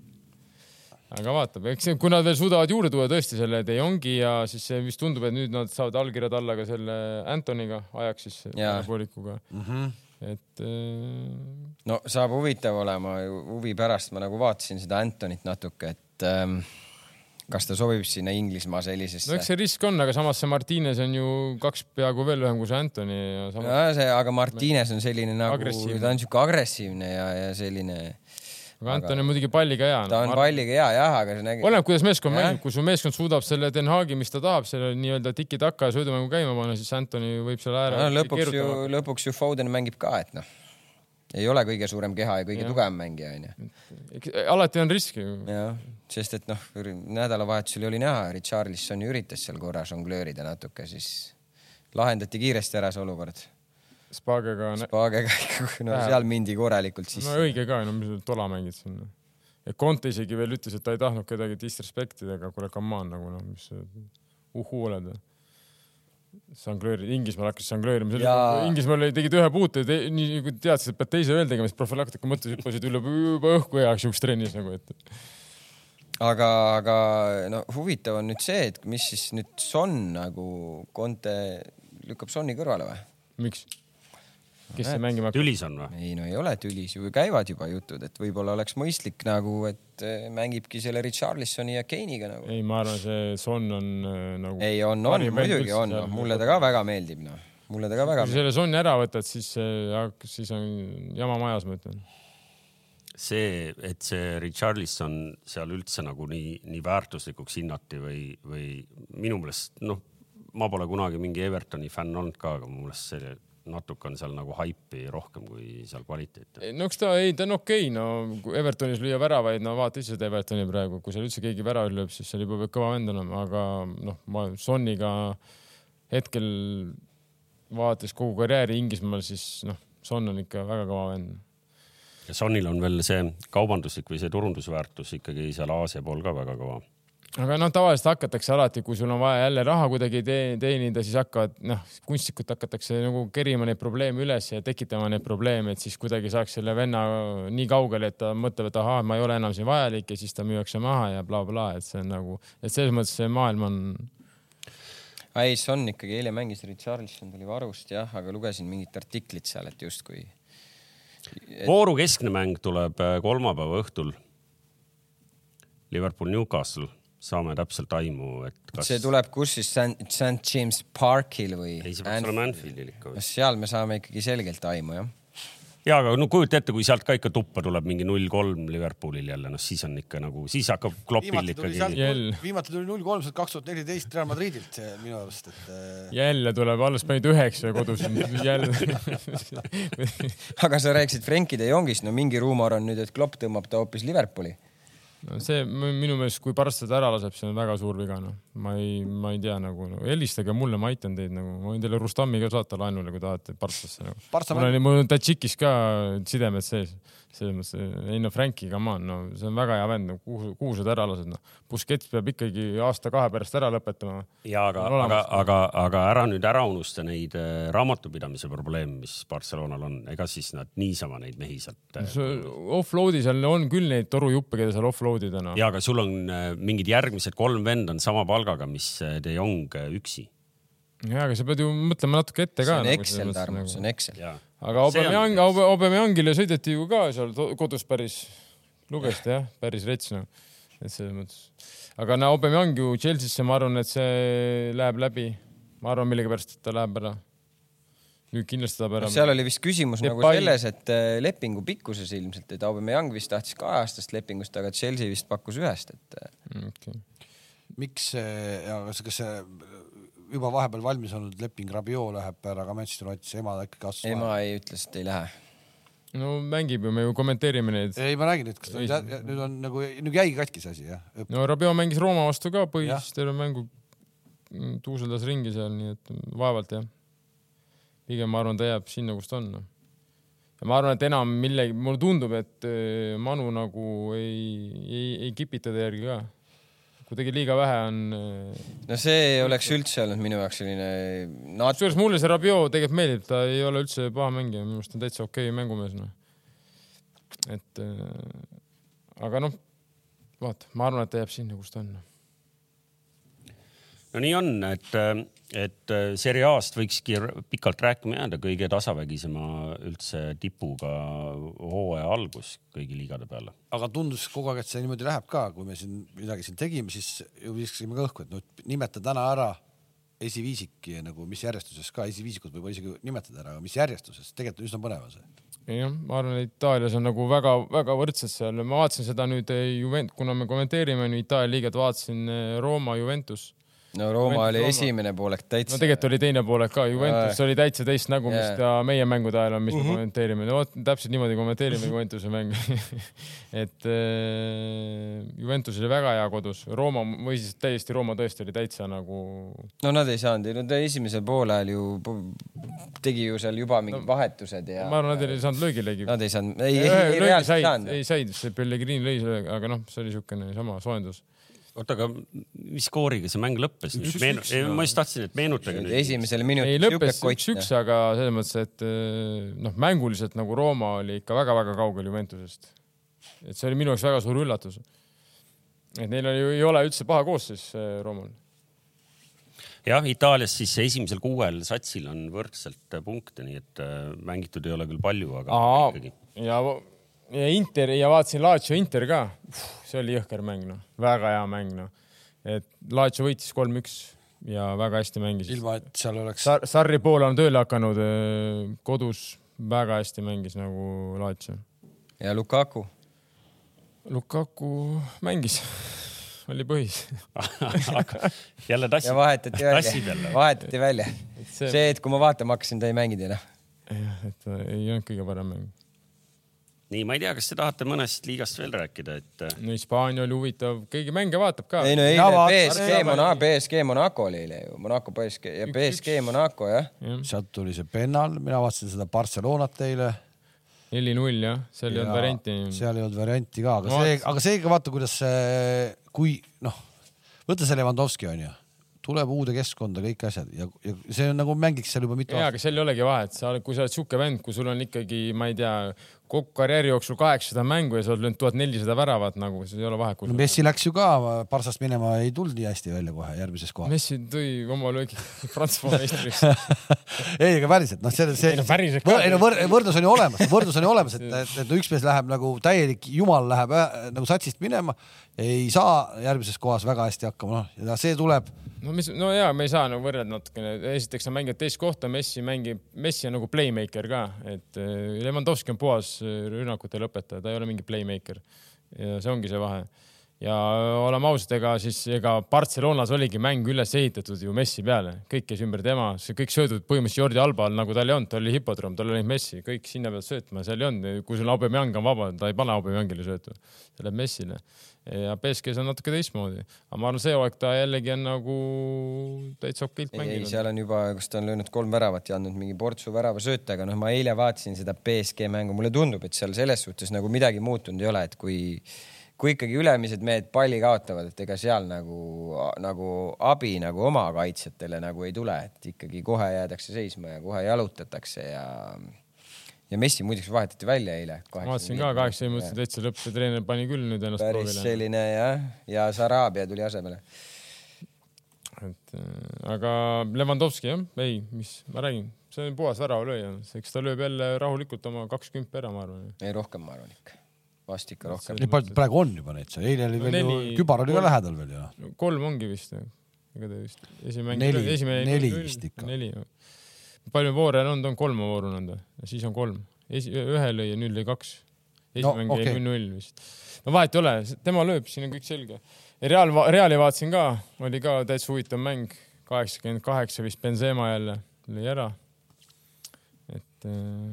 S4: aga vaatame , eks see- kui nad veel suudavad juurde tuua tõesti selle De Jongi ja siis see vist tundub , et nüüd nad saavad allkirjad alla ka selle Antoniga ajaks siis
S3: Jaa. Mhm.
S4: poolikuga mm . -hmm. et äh,
S3: no saab huvitav olema ju huvi pärast , ma nagu vaatasin seda Antonit natuke , et ähm, kas ta sobib sinna Inglismaa sellisesse
S4: no eks see risk on , aga samas see Martines on ju kaks peaaegu veel lühem kui see Anthony ja samas
S3: nojah , see , aga Martines on selline nagu ,
S4: Agressiivne.
S3: ta on siuke agressiivne ja , ja selline ,
S4: aga Anthony on muidugi palliga hea .
S3: ta on palliga hea jah , aga see nägi ,
S4: oleneb , kuidas meeskond
S3: Jah.
S4: mängib , kui su meeskond suudab selle Den Haagi , mis ta tahab , selle nii-öelda tiki-taka ja sõidumängu käima panna , siis Anthony võib selle
S3: no
S4: ääre
S3: lõpuks ju , lõpuks ju Foden mängib ka , et noh , ei ole kõige suurem keha ja kõige tugevam mängija onju .
S4: ju . alati on risk ju .
S3: jah , sest et noh , nädalavahetusel oli näha , Richarlison ju üritas seal korra žonglöörida natuke , siis lahendati kiiresti ära see olukord .
S4: Spagega , no
S3: Spagega ikka , no seal mindi korralikult sisse .
S4: õige ka , no mis sa tola mängid siin . ja Conte isegi veel ütles , et ta ei tahtnud kedagi disrespect ida , aga kuule , come on nagu noh , mis sa uhuu oled või ? žonglöörid , Inglismaal hakkas žonglöörima
S3: Jaa. ,
S4: Inglismaal tegid ühe puute , nii kui teadsid , et pead teise veel tegema , siis profülaktika mõttes hüppasid üle juba õhku heaks siukses trennis nagu , et
S3: aga , aga no huvitav on nüüd see , et mis siis nüüd Son nagu Conte lükkab Sonni kõrvale või ?
S4: miks ? kes see mängima hakkab ?
S2: tülis on või ?
S3: ei no ei ole tülis ju , käivad juba jutud , et võib-olla oleks mõistlik nagu , et eh, mängibki selle Richarlisoni ja Keiniga nagu .
S4: ei , ma arvan , see Son on äh, nagu .
S3: ei on , on , muidugi on , mulle ta ka väga meeldib noh , mulle ta ka väga
S4: kui
S3: meeldib .
S4: selle Soni ära võtad , siis , siis on jama majas , ma ütlen .
S2: see , et see Richarlison seal üldse nagu nii , nii väärtuslikuks hinnati või , või minu meelest noh , ma pole kunagi mingi Evertoni fänn olnud ka , aga mu meelest see natuke on seal nagu haipi rohkem kui seal kvaliteeti .
S4: no eks ta , ei ta on okei okay, , no kui Evertonis lüüa väravaid , no vaata ise seda Evertoni praegu , kui seal üldse keegi väravaid lööb , siis seal juba peab kõva vend olema , aga noh , ma Soniga hetkel vaadates kogu karjääri Inglismaal , siis noh , Son on ikka väga kõva vend .
S2: ja Sonil on veel see kaubanduslik või see turundusväärtus ikkagi seal Aasia pool ka väga kõva .
S4: aga noh , tavaliselt hakatakse alati , kui sul on vaja jälle raha kuidagi tee- teenida , siis hakkavad noh , kunstnikult hakatakse nagu kerima neid probleeme üles ja tekitama neid probleeme , et siis kuidagi saaks selle venna nii kaugele , et ta mõtleb , et ahaa , ma ei ole enam siin vajalik ja siis ta müüakse maha ja blablabla bla, , et see on nagu , et selles mõttes see maailm on ,
S3: ei , Son ikkagi eile mängis , Richarlison tuli varust jah , aga lugesin mingit artiklit seal , et justkui .
S2: vooru keskne mäng tuleb äh, kolmapäeva õhtul . Liverpool Newcastle , saame täpselt aimu , et kas .
S3: see tuleb kus siis St, St James Parkil või ?
S2: ei , see peaks olema Anfieldil ikka
S3: no
S2: vist .
S3: seal me saame ikkagi selgelt aimu jah .
S2: ja , aga no kujuta ette , kui sealt ka ikka tuppa tuleb mingi null kolm Liverpoolil jälle , noh siis on ikka nagu , siis hakkab klopil
S1: viimati tuli sealt
S2: ikkagi .
S4: Jell. ,
S1: viimati tuli null kolm sealt kaks tuhat neliteist Real Madridilt eh, minu arust , et eh,
S4: jälle tuleb , alles panid üheksa kodus , jälle .
S3: aga sa rääkisid Frenkie de Jongist , no mingi ruumor on nüüd , et Klopp tõmbab ta hoopis Liverpooli .
S4: no see m- minu meelest , kui Parts seda ära laseb , see on väga suur viga , noh . ma ei , ma ei tea nagu no, , helistage mulle , ma aitan teid nagu , ma võin teile Rustami ka saata laenule , kui tahate Partsasse nagu .
S1: Partsa
S4: mul oli , mul on Tadžikis ka sidemed sees , selles mõttes , ei no Franki , come on , no see on väga hea vend no, , kuhu , kuhu sa ta ära lased , noh . Busquets peab ikkagi aasta-kahe pärast ära lõpetama .
S2: ja aga ,
S4: On
S2: aga
S4: olemas. ,
S2: aga , aga ära nüüd ära unusta neid äh, raamatupidamise probleeme , mis Barcelonal on , ega siis nad niisama neid mehi sealt äh,
S4: Offload'i seal on küll neid torujuppe , keda seal offload ida , noh .
S2: ja aga sul on äh, mingid järgmised kolm venda on sama palgaga , mis äh, De Jong äh, üksi .
S4: jaa , aga sa pead ju mõtlema natuke
S3: see
S4: ette ka . nagu,
S3: on Excel , Tarmo , see on Excel .
S2: ja ,
S4: aga
S2: See on
S4: Aubameyang , Aubameyangile sõideti ju ka seal to- kodus päris , lugesite jah , päris rets noh , et selles mõttes . aga no Aubameyang ju Chelsea'sse , ma arvan , et see läheb läbi . ma arvan , millegipärast , et ta läheb ära . nüüd kindlasti läheb ära .
S3: Noh, seal oli vist küsimus nagu
S4: Depay.
S3: selles , et eh, lepingu pikkuses ilmselt , et Aubameyang vist tahtis kaheaastast lepingust , aga Chelsea vist pakkus ühest , et eh,
S4: Okay.
S1: miks , kas kas see äh, juba vahepeal valmis olnud leping Rabiot läheb ära ka Manchester Unitedisse , ema ikkagi astus
S3: ei ,
S1: vahele .
S3: ma ei ütle , et ei lähe .
S4: no mängib ju , me ju kommenteerime neid .
S1: ei , ma räägin , et kas ta nüüd, jä- jä- nüüd on nagu , nüüd jäigi katki see asi jah ?
S4: no Rabio mängis Rooma vastu ka põhis terve mängu , tuuseldas ringi seal , nii et vaevalt jah . pigem ma arvan , ta jääb sinna , kus ta on . ja ma arvan , et enam millegi , mulle tundub , et öö, Manu nagu ei , ei , ei kipita ta järgi ka . kuidagi liiga vähe on . äh,
S3: no see oleks üldse olnud minu jaoks selline nat- ,
S4: kusjuures mulle see Rabio tegelikult meeldib , ta ei ole üldse paha mängija , minu arust on täitsa okei okay mängumees noh . et äh, öö, noh. aga noh , vaata , ma arvan , et ta jääb sinna , kus ta on .
S2: no nii on, et , et Serie A-st võikski r- pikalt rääkima jääda kõige tasavägisema üldse tipuga hooaja algus kõigi liigade peale .
S1: aga tundus kogu aeg , et see niimoodi läheb ka , kui me siin midagi siin tegime , siis ju viskasime ka õhku , et noh , nimeta täna ära esiviisik ja nagu mis järjestuses ka , esiviisikut võib-olla isegi nimetada ära , aga mis järjestuses , tegelikult on üsna põnev on see .
S4: jah , ma arvan , et Itaalias on nagu väga-väga võrdsed seal , ma vaatasin seda nüüd eh, Juvent- , kuna me kommenteerime nüüd Itaalia liiget , vaatasin eh, Rooma Juventus .
S3: no Rooma oli
S4: Rooma.
S3: esimene poolek
S4: no
S3: täitsa .
S4: tegelikult oli teine poolek ka , Juventus oli täitsa teist nägu , mis
S3: Jaa.
S4: ta meie mängude ajal on , mis me kommenteerime , no vot täpselt niimoodi kommenteerime Juventuse mänge . et eh, Juventus oli väga hea kodus , Rooma või siis täiesti Rooma tõesti oli täitsa nagu
S3: no nad ei saanud , no ta esimesel poolel ju pu- tegi ju seal juba mingid vahetused ja .
S4: ma arvan , nad ei saanud löögilegi .
S3: Nad ei saanud , ei , ei , ei
S4: löögi
S3: reaalselt ei
S4: said ,
S3: saanud .
S4: ei said , see Pellegrini lõi selle , aga noh , see oli niisugune sama soojendus .
S2: oota , aga mis skooriga see mäng lõppes ?
S1: Üks-üks,
S2: Meenu... ei, ma just tahtsin , et meenutage nüüd .
S3: esimesel minutil
S4: ei lõppes üks-üks , aga selles mõttes , et eh, noh , mänguliselt nagu Rooma oli ikka väga-väga kaugel Juventusest . et see oli minu jaoks väga suur üllatus . et neil oli, ei ole üldse paha koosseis eh, Roomal .
S2: jah , Itaalias siis esimesel kuuel satsil on võrdselt punkte , nii et äh, mängitud ei ole küll palju , aga ikkagi .
S4: ja , ja Inter ja vaatasin Laatio Inter ka . see oli jõhker mäng noh , väga hea mäng noh . et Laatio võitis kolm-üks ja väga hästi mängis .
S1: ilma , et seal oleks
S4: Sar- , Sarri poole on tööle hakanud , kodus väga hästi mängis nagu Laatio .
S3: noh. ja Lukaku .
S4: Lukaku mängis , oli põhis .
S2: jälle tassi
S3: ja . vahetati
S2: Tassid
S3: välja
S2: jälle. ,
S3: vahetati välja .
S4: see-
S3: see hetk , kui ma vaatama hakkasin , ta ei mänginud enam .
S4: jah , et äh, ei olnud kõige parem mäng .
S2: nii , ma ei tea , kas te tahate mõnest liigast veel rääkida , et äh,
S4: no Hispaania oli huvitav , keegi mänge vaatab ka .
S3: ei no
S1: Ja
S3: eile
S1: vaat-
S3: BSG Monaco , BSG Monaco oli eile ju , Monaco BSG ja BSG Monaco jah .
S1: sealt tuli see pennal , mina vaatasin seda Barcelonat eile .
S4: neli-null jah , seal ei olnud varianti .
S1: seal ei olnud varianti ka , aga
S4: No
S1: see , aga seega vaata , kuidas see , kui noh , võta see Levanovski onju , tuleb uude keskkonda kõik asjad ja , ja see on nagu mängiks seal juba mitu
S4: ja ,
S1: aastat .
S4: aga seal ei olegi vahet , sa oled , kui sa oled sihuke vend , kui sul on ikkagi , ma ei tea , kogu karjääri jooksul kaheksasada mängu ja sa oled löönud tuhat nelisada väravat nagu , siis ei ole vahet , kus
S1: no . Messi läks ju ka , Barsast minema ei tulnud nii hästi välja kohe järgmises kohas .
S4: Messi tõi oma löögi Prantsusmaa meistriks .
S1: ei , aga päriselt , noh , see , see .
S4: Ei no päriselt ka.
S1: ei no võr, võrdlus on ju olemas , võrdlus on ju olemas , et , et, et no üks mees läheb nagu täielik jumal läheb äh, nagu satsist minema , ei saa järgmises kohas väga hästi hakkama , noh , ja see tuleb .
S4: no mis , no ja me ei saa nagu võrrelda natukene , esiteks sa mängid teist kohta , Messi mängib , Messi on nagu playmaker ka , et eh, Lewandowski on puhas eh, rünnakute lõpetaja , ta ei ole mingi playmaker . ja see ongi see vahe . ja äh, oleme ausad , ega siis ega Barcelonas oligi mäng üles ehitatud ju Messi peale , kõik käis ümber tema , see kõik söödud põhimõtteliselt Jordi Alba all nagu tal ei olnud , tal oli hipodroom , tal oli Messi , kõik sinna pealt söötma , seal ei olnud , kui sul Aubameyang on vaba , ta ei pane Aubameyangile söötu , see läheb Messile . ja BSG-s on natuke teistmoodi , aga ma arvan , see aeg ta jällegi on nagu täitsa okeilt
S3: ei , ei
S4: mänginud .
S3: seal on juba , kas ta on löönud kolm väravat ja andnud mingi portsu väravasööta , aga noh , ma eile vaatasin seda BSG mängu , mulle tundub , et seal selles suhtes nagu midagi muutunud ei ole , et kui , kui ikkagi ülemised mehed palli kaotavad , et ega seal nagu , nagu abi nagu oma kaitsjatele nagu ei tule , et ikkagi kohe jäädakse seisma ja kohe jalutatakse ja , ja Messi muideks vahetati välja eile .
S4: ma vaatasin ka kaheksakümne minutit täitsa lõpp , see treener pani küll nüüd ennast
S3: päris
S4: proovile .
S3: selline jah , ja Sarabia tuli asemele
S4: et äh, aga Levanovski jah , ei , mis ma räägin , see on puhas väravalööja , eks ta lööb jälle rahulikult oma kakskümmend ära , ma arvan .
S3: ei rohkem , ma arvan ikka , vast ikka rohkem .
S1: nii palju praegu on juba neid seal , eile oli
S4: No
S1: veel ju
S4: neli- ,
S1: kübar oli ka
S4: kolm-
S1: lähedal veel ju noh .
S4: kolm ongi vist või ? ega ta vist esimene
S1: Neli- neli vist ikka.
S4: neli . palju voore on olnud , on kolm vooru on olnud või ? siis on kolm , ühe lõi ja nüüd lõi kaks .
S1: No,
S4: esimene no,
S1: okei.
S4: okay. null null vist . no vahet ei ole , tema lööb , siin on kõik selge . Real , Reali vaatasin ka , oli ka täitsa huvitav mäng , kaheksakümmend kaheksa vist Benzema jälle lõi ära . et äh,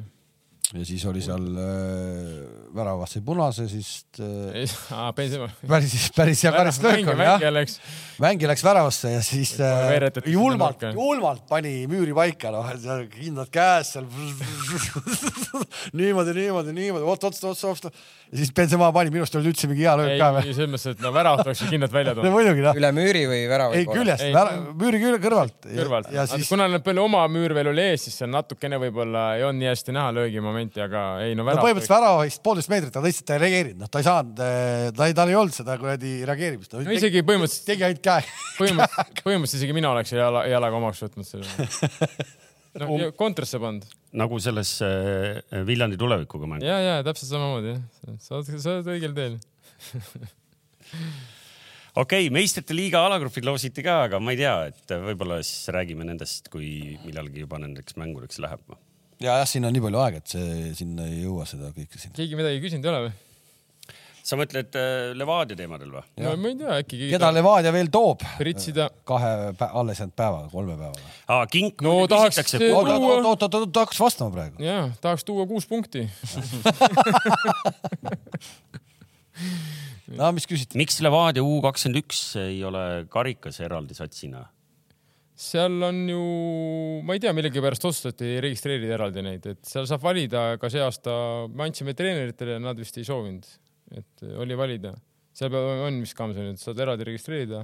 S1: ja siis oli seal äh, väravas sai punase , siis äh,
S4: ei, aa, Benzema .
S1: päris , päris hea karistuslöök oli jah .
S4: läks ,
S1: mängi läks väravasse ja siis
S4: Kohe
S1: äh,
S4: veeretati sinna
S1: julmalt
S4: nurka. ,
S1: julmalt pani müüri paika , noh , kindlad käes seal . niimoodi , niimoodi , niimoodi , oot , oot , oot , oot , oot . ja siis Benzema pani , minu arust oli üldse mingi hea löök
S4: ei
S1: ka või ?
S4: selles mõttes , et no värav tuleks ju kindlalt välja
S1: no
S4: tuua .
S1: muidugi noh ,
S3: üle müüri või värava ?
S1: ei küljest
S4: Ei. ,
S1: müüri külje kõrvalt .
S4: kõrvalt .
S1: ja
S4: Siis...
S1: siis ,
S4: kuna nad veel oma müür veel oli ees , siis seal natukene võib-olla ei olnud nii hästi näha momenti , aga ei no
S1: no
S4: värav .
S1: põhimõtteliselt värava vist poolteist meetrit ta lihtsalt ei reageerinud , noh , ta ei saanud , ta ei , tal ei olnud seda kuradi reageerimist .
S4: no isegi põhimõtteliselt ,
S1: tegi ainult käe .
S4: põhimõtteliselt , põhimõtteliselt isegi mina oleks jala , jalaga omaks võtnud selle .
S1: Um-
S4: no ja kontrasse pannud .
S2: nagu selles äh, Viljandi tulevikuga mäng .
S4: ja , ja täpselt samamoodi jah . sa oled , sa oled õigel teel .
S2: okei okay, , meistrite liiga alagrupid loositi ka , aga ma ei tea , et eh, võib-olla siis räägime nendest , kui millalgi juba nendeks mängudeks läheb .
S1: ja jah , siin on nii palju aega , et see sinna ei jõua seda kõike siin .
S4: keegi midagi küsinud ei ole või ?
S2: sa mõtled äh, Levadia teemadel või ?
S4: no ma ei tea , äkki keegi
S1: keda Levadia veel toob
S4: pritsida .
S1: kahe pä- , alles jäänud päevaga , kolme päevaga .
S2: aa , kink .
S4: No tahaks-
S1: oot ,
S4: Tuua.
S1: oot , oot , oot , ta hakkas vastama praegu .
S4: jah , tahaks tuua kuus punkti .
S1: no mis küsiti ?
S2: miks Levadia U kakskümmend üks ei ole karikas eraldi satsina ?
S4: seal on ju , ma ei tea , millegipärast otsustati registreerida eraldi neid , et seal saab valida , aga see aasta me andsime treeneritele ja nad vist ei soovinud , et oli valida . seal peab , on vist kaamsa nüüd , saad eraldi registreerida .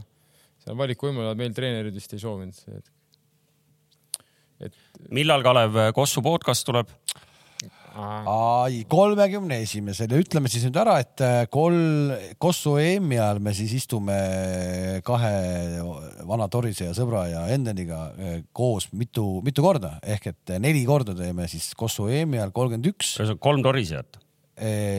S4: seal valikuvõimalused , meil treenerid vist ei soovinud . et, et
S2: millal Kalev Kossu podcast tuleb ?
S4: aa,
S1: ai , kolmekümne esimesel ja ütleme siis nüüd ära , et äh, kol- , Kossu EM-i ajal me siis istume äh, kahe vana Torise ja sõbra ja Endeniga äh, koos mitu , mitu korda ehk et äh, neli korda teeme siis Kossu EM-i ajal kolmkümmend üks .
S2: ühesõnaga kolm torisejat .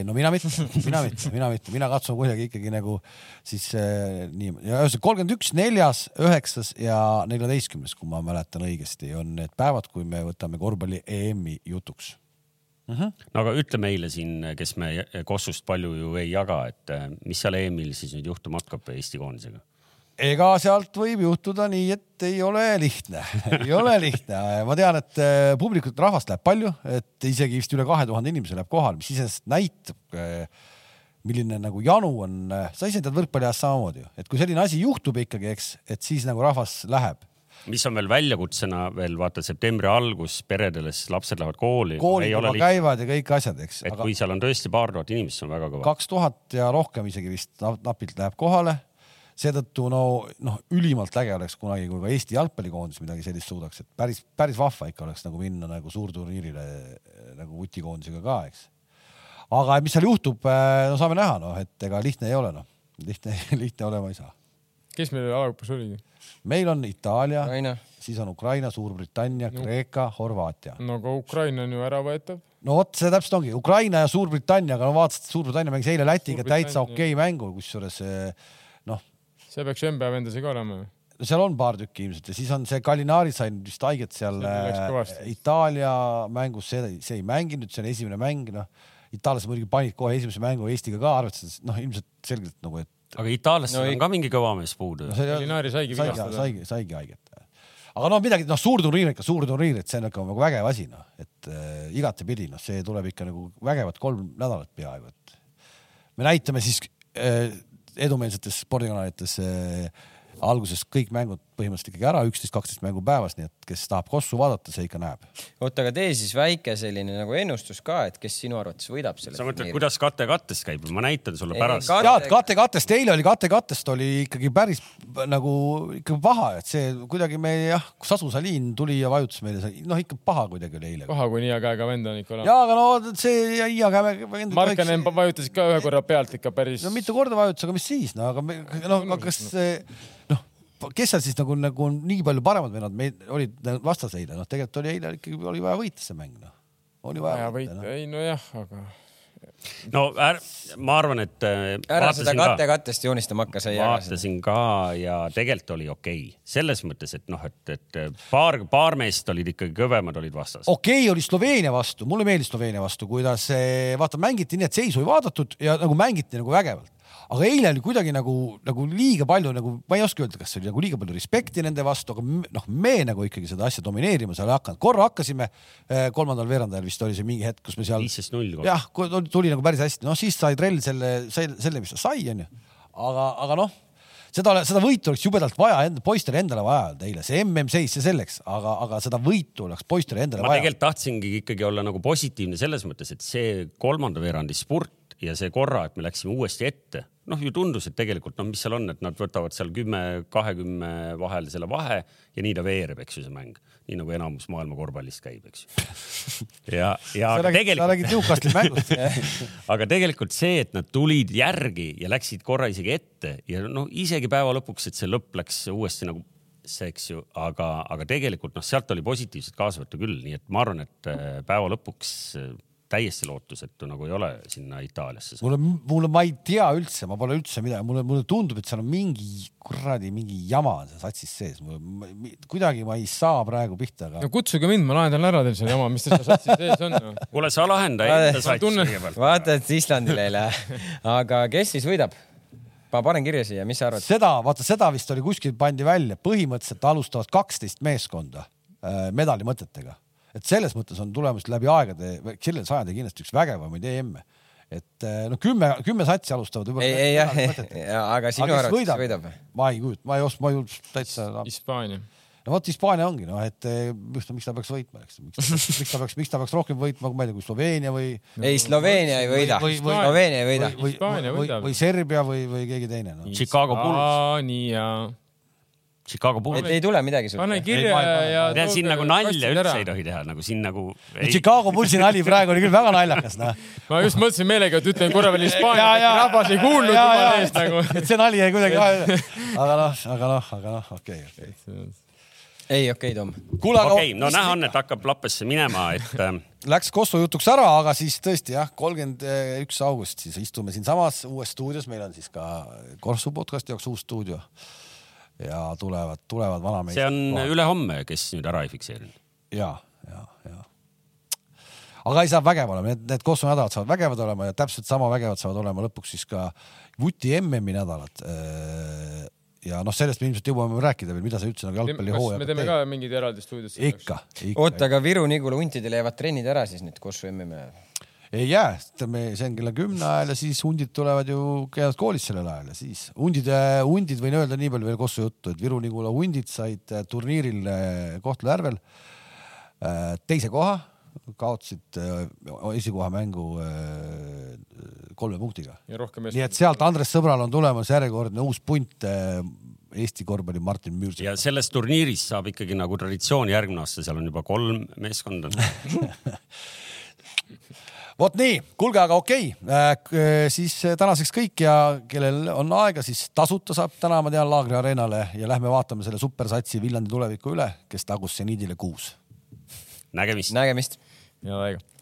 S1: no mina mitte , mina mitte , mina mitte , mina katsun kuidagi ikkagi nagu siis eh, nii , ühesõnaga kolmkümmend üks , neljas , üheksas ja neljateistkümnes , kui ma mäletan õigesti , on need päevad , kui me võtame korvpalli EM-i jutuks .
S2: no aga ütle meile siin , kes me Kossust palju ju ei jaga , et äh, mis seal EM-il siis nüüd juhtuma hakkab Eesti koondisega ?
S1: ega sealt võib juhtuda nii , et ei ole lihtne , ei ole lihtne . ma tean , et eh, publikut , rahvast läheb palju , et isegi vist üle kahe tuhande inimese läheb kohale , mis iseenesest näitab eh, milline nagu janu on , sa esindad võrkpalli ajast samamoodi ju , et kui selline asi juhtub ikkagi , eks , et siis nagu rahvas läheb
S2: mis on veel väljakutsena veel vaata septembri algus peredele , siis lapsed lähevad kooli .
S1: koolid
S2: ei
S1: juba
S2: ole lihtne ,
S1: käivad ja kõik asjad , eks ,
S2: et
S1: aga
S2: kui seal on tõesti paar tuhat inimest , see on väga kõva .
S1: kaks tuhat ja rohkem isegi vist nap- napilt läheb kohale . seetõttu no noh , ülimalt äge oleks kunagi , kui ka Eesti jalgpallikoondis midagi sellist suudaks , et päris päris vahva ikka oleks nagu minna nagu suurturniirile eh, nagu vutikoondisega ka , eks . aga mis seal juhtub , no saame näha , noh , et ega lihtne ei ole , noh , lihtne lihtne olema ei saa .
S4: kes meil alagrupis oligi ?
S1: meil on Itaalia ,
S3: Ukraina .
S1: siis on Ukraina , Suurbritannia , Kreeka , Horvaatia .
S4: no aga Ukraina on ju äravõetav .
S1: no vot , see täpselt ongi Ukraina ja Suurbritanniaga , no vaatasid , Suurbritannia mängis eile Lätiga
S4: Suurbritannia.
S1: täitsa okei okay mängu , kusjuures eh, noh ,
S4: see peaks M-päev endas ka olema .
S1: seal on paar tükki ilmselt ja siis on see Gallinari sai nüüd vist haiget seal
S4: See läks
S1: eh,
S4: kõvasti.
S1: Itaalia mängus , see , see ei mänginud , see on esimene mäng , noh . itaallased muidugi panid kohe esimese mängu Eestiga ka , arvestades noh , ilmselt selgelt nagu , et
S2: aga itaallastel
S3: No
S2: no,
S3: ei-
S2: on ka mingi kõva mees puudu
S1: no
S2: ju .
S1: see ei olnud-
S4: Gallinari saigi
S1: saigi ,
S4: vigastada.
S1: saigi , saigi haiget . aga no midagi , noh , suurturniir ikka , suurturniir , et see on ikka nagu vägev asi , noh , et äh, igatepidi , noh , see tuleb ikka nagu vägevat kolm nädalat peaaegu , et me näitame siis äh, edumeelsetes spordikanalites äh, alguses kõik mängud põhimõtteliselt ikkagi ära , üksteist , kaksteist mängu päevas , nii et kes tahab Kossu vaadata , see ikka näeb .
S3: oota , aga tee siis väike selline nagu ennustus ka , et kes sinu arvates võidab selle .
S2: sa mõtled , kuidas kate kattest käib , ma näitan sulle
S3: Ei,
S2: pärast .
S3: ka-
S1: tead , Kate Kattest , eile oli Kate Kattest oli ikkagi päris p- nagu ikka paha , et see kuidagi me jah , Sasu Saliin tuli ja vajutas meile , noh ikka paha kuidagi oli eile .
S4: paha , kui nii hea käega vend on ikka olema .
S1: ja aga no see jäi , aga me- me- me-
S4: Markanen
S1: võiks-
S4: vajutasid ka ühe korra pealt ikka päris
S1: no . mitu korda vajutas , aga mis siis , no aga me, no aga kas see- noh , kes seal siis nagu , nagu on nii palju paremad vennad , meil olid nagu vastas eile , noh , tegelikult oli eile ikkagi oli vaja võita see mäng , noh , oli vaja
S4: vaja
S1: võita , noh .
S4: võita , ei nojah , aga
S2: no är, ma arvan , et äh,
S3: ära seda
S2: vaatasin
S3: katte
S2: ka ,
S3: kattest joonistama hakka , sa ei jaga seda .
S2: vaatasin ka ja tegelikult oli okei okay. selles mõttes , et noh , et , et paar , paar meest olid ikkagi kõvemad olid vastas .
S1: okei okay, oli Sloveenia vastu , mulle meeldis Sloveenia vastu , kuidas eh, vaata mängiti nii , et seisu ei vaadatud ja nagu mängiti nagu vägevalt . aga eile oli kuidagi nagu , nagu liiga palju nagu , ma ei oska öelda , kas see oli nagu liiga palju respekti nende vastu , aga me- noh , me nagu ikkagi seda asja domineerima seal ei hakanud , korra hakkasime , kolmandal veerandajal vist oli see mingi hetk , kus me seal
S2: viisteist null .
S1: jah , tuli nagu päris hästi , noh siis sai trell selle , selle , mis ta sai , onju . aga , aga noh , seda , seda võitu oleks jubedalt vaja enda , poistele endale vaja olnud eile , see mm seis , see selleks , aga , aga seda võitu oleks poistele endale
S2: ma
S1: vaja .
S2: tegelikult tahtsingi ikkagi olla nagu positiivne selles mõttes , et see kolmanda veerandi spurt ja see korra , et me läksime uuesti ette , noh ju tundus , et tegelikult noh , mis seal on , et nad võtavad seal kümme , kahekümne vahel selle vahe ja nii ta veereb , eks ju , see mäng , nii nagu enamus maailma korvpallist käib , eks ju . ja , ja
S1: sa
S2: aga
S1: räägid , sa
S2: tegelikult ,
S1: räägid Newcastle'i mängust .
S2: aga tegelikult see , et nad tulid järgi ja läksid korra isegi ette ja noh , isegi päeva lõpuks , et see lõpp läks uuesti nagu see , eks ju , aga , aga tegelikult noh , sealt oli positiivset kaasa võtta küll , nii et ma arvan , et äh, päeva lõpuks äh, täiesti lootusetu nagu ei ole sinna Itaaliasse .
S1: mulle , mulle , ma ei tea üldse , ma pole üldse midagi , mulle , mulle tundub , et seal on mingi kuradi mingi jama on seal satsis sees , mul kuidagi ma ei saa praegu pihta , aga
S4: no kutsuge mind , ma lahendan ära teil selle jama , mis teil seal satsi sees on noh. no. .
S2: kuule , sa lahenda
S1: Äh,
S2: enda
S4: Ma
S2: satsi
S4: tunnen-
S2: kõigepealt .
S3: vaata , et Islandile ei lähe . aga kes siis võidab ? ma panen kirja siia , mis sa arvad ?
S1: seda , vaata seda vist oli kuskil pandi välja , põhimõtteliselt alustavad kaksteist meeskonda äh, medali mõtetega , et selles mõttes on tulemus läbi aegade , selle sajandi kindlasti üks vägevamaid EM-e , et äh, no kümme , kümme satsi alustavad
S3: ei , ei jah , aga sinu
S1: kes
S3: arvates võidab, võidab. ?
S1: ma ei kujuta , ma ei oska , ma ei julge täitsa ,
S4: Hispaania .
S1: no vot Hispaania ongi noh , et eh, miks ta , miks ta peaks võitma , eks , miks ta peaks , miks ta peaks rohkem võitma , ma ei tea , kui Sloveenia või ,
S3: ei , Sloveenia ei võida ,
S1: Või- või-
S3: Sloveenia ei võida
S1: või ,. või,
S4: Hispaania
S1: või,
S4: võidab.
S1: või Serbia või , või keegi teine noh. no. .
S2: Chicago Bulls ,
S4: Hispaania .
S2: Chicago
S3: et
S2: Bulls .
S3: ei tule midagi suurt .
S4: pane
S1: Ei,
S4: kirja
S1: ma ei pane.
S4: ja .
S2: tead , siin nagu nalja üldse ei tohi teha , nagu siin nagu .
S1: Chicago Bullsi nali praegu oli küll väga naljakas noh .
S4: ma just mõtlesin meelega , et ütlen korra veel Hispaania ,
S1: Ja, ja.
S4: et rahvas ei kuulnud
S1: Ja,
S4: jumala
S1: ja.
S4: eest nagu .
S1: et see nali jäi kuidagi vahele . aga noh , aga noh , aga noh , okei , okei .
S3: ei , okei , Tom .
S1: kuule , aga
S2: okei , no näha on , et hakkab lappesse minema , et ähm,
S1: läks Kosovo jutuks ära , aga siis tõesti jah , kolmkümmend üks august siis istume siinsamas uues stuudios , meil on siis ka Korsu podcasti jaoks uus stuudio . ja tulevad , tulevad vanameestrid .
S2: see on ülehomme , kes nüüd ära ei fikseerinud .
S1: ja , ja , ja . aga ei saa vägev olema , need , need Kosovo nädalad saavad vägevad olema ja täpselt sama vägevad saavad olema lõpuks siis ka vuti MM-i nädalad . ja noh , sellest me ilmselt jõuame veel rääkida veel , mida see üldse nagu
S4: kas me
S1: jalgpallihooajaga
S4: teeme ka mingeid eraldi stuudiosse ?
S1: ikka , ikka
S3: oota , aga Viru-Nigula huntidel jäävad trennid ära siis nüüd Kossu MM-ile ?
S1: ei jää , me see on kella kümne ajal ja siis hundid tulevad ju , käivad koolis sellel ajal ja siis hundid , hundid võin öelda nii palju veel Kossu juttu , et Viru-Nigula hundid said äh, turniiril äh, Kohtla-Järvel äh, teise koha , kaotasid äh, esikoha mängu äh, kolme punktiga .
S4: ja rohkem
S1: nii et sealt Andres Sõbral on tulemas järjekordne uus punt äh, Eesti korvpalli Martin Müürsepp .
S2: ja selles turniiris saab ikkagi nagu traditsioon järgmine aasta , seal on juba kolm meeskonda .
S1: vot nii , kuulge , aga okei okay. , siis äh, tänaseks kõik ja kellel on aega , siis tasuta saab täna , ma tean , Laagri areenale ja lähme vaatame selle supersatsi Viljandi tuleviku üle , kes tagus seniidile kuus
S2: nägemist .
S3: nägemist
S4: ja väga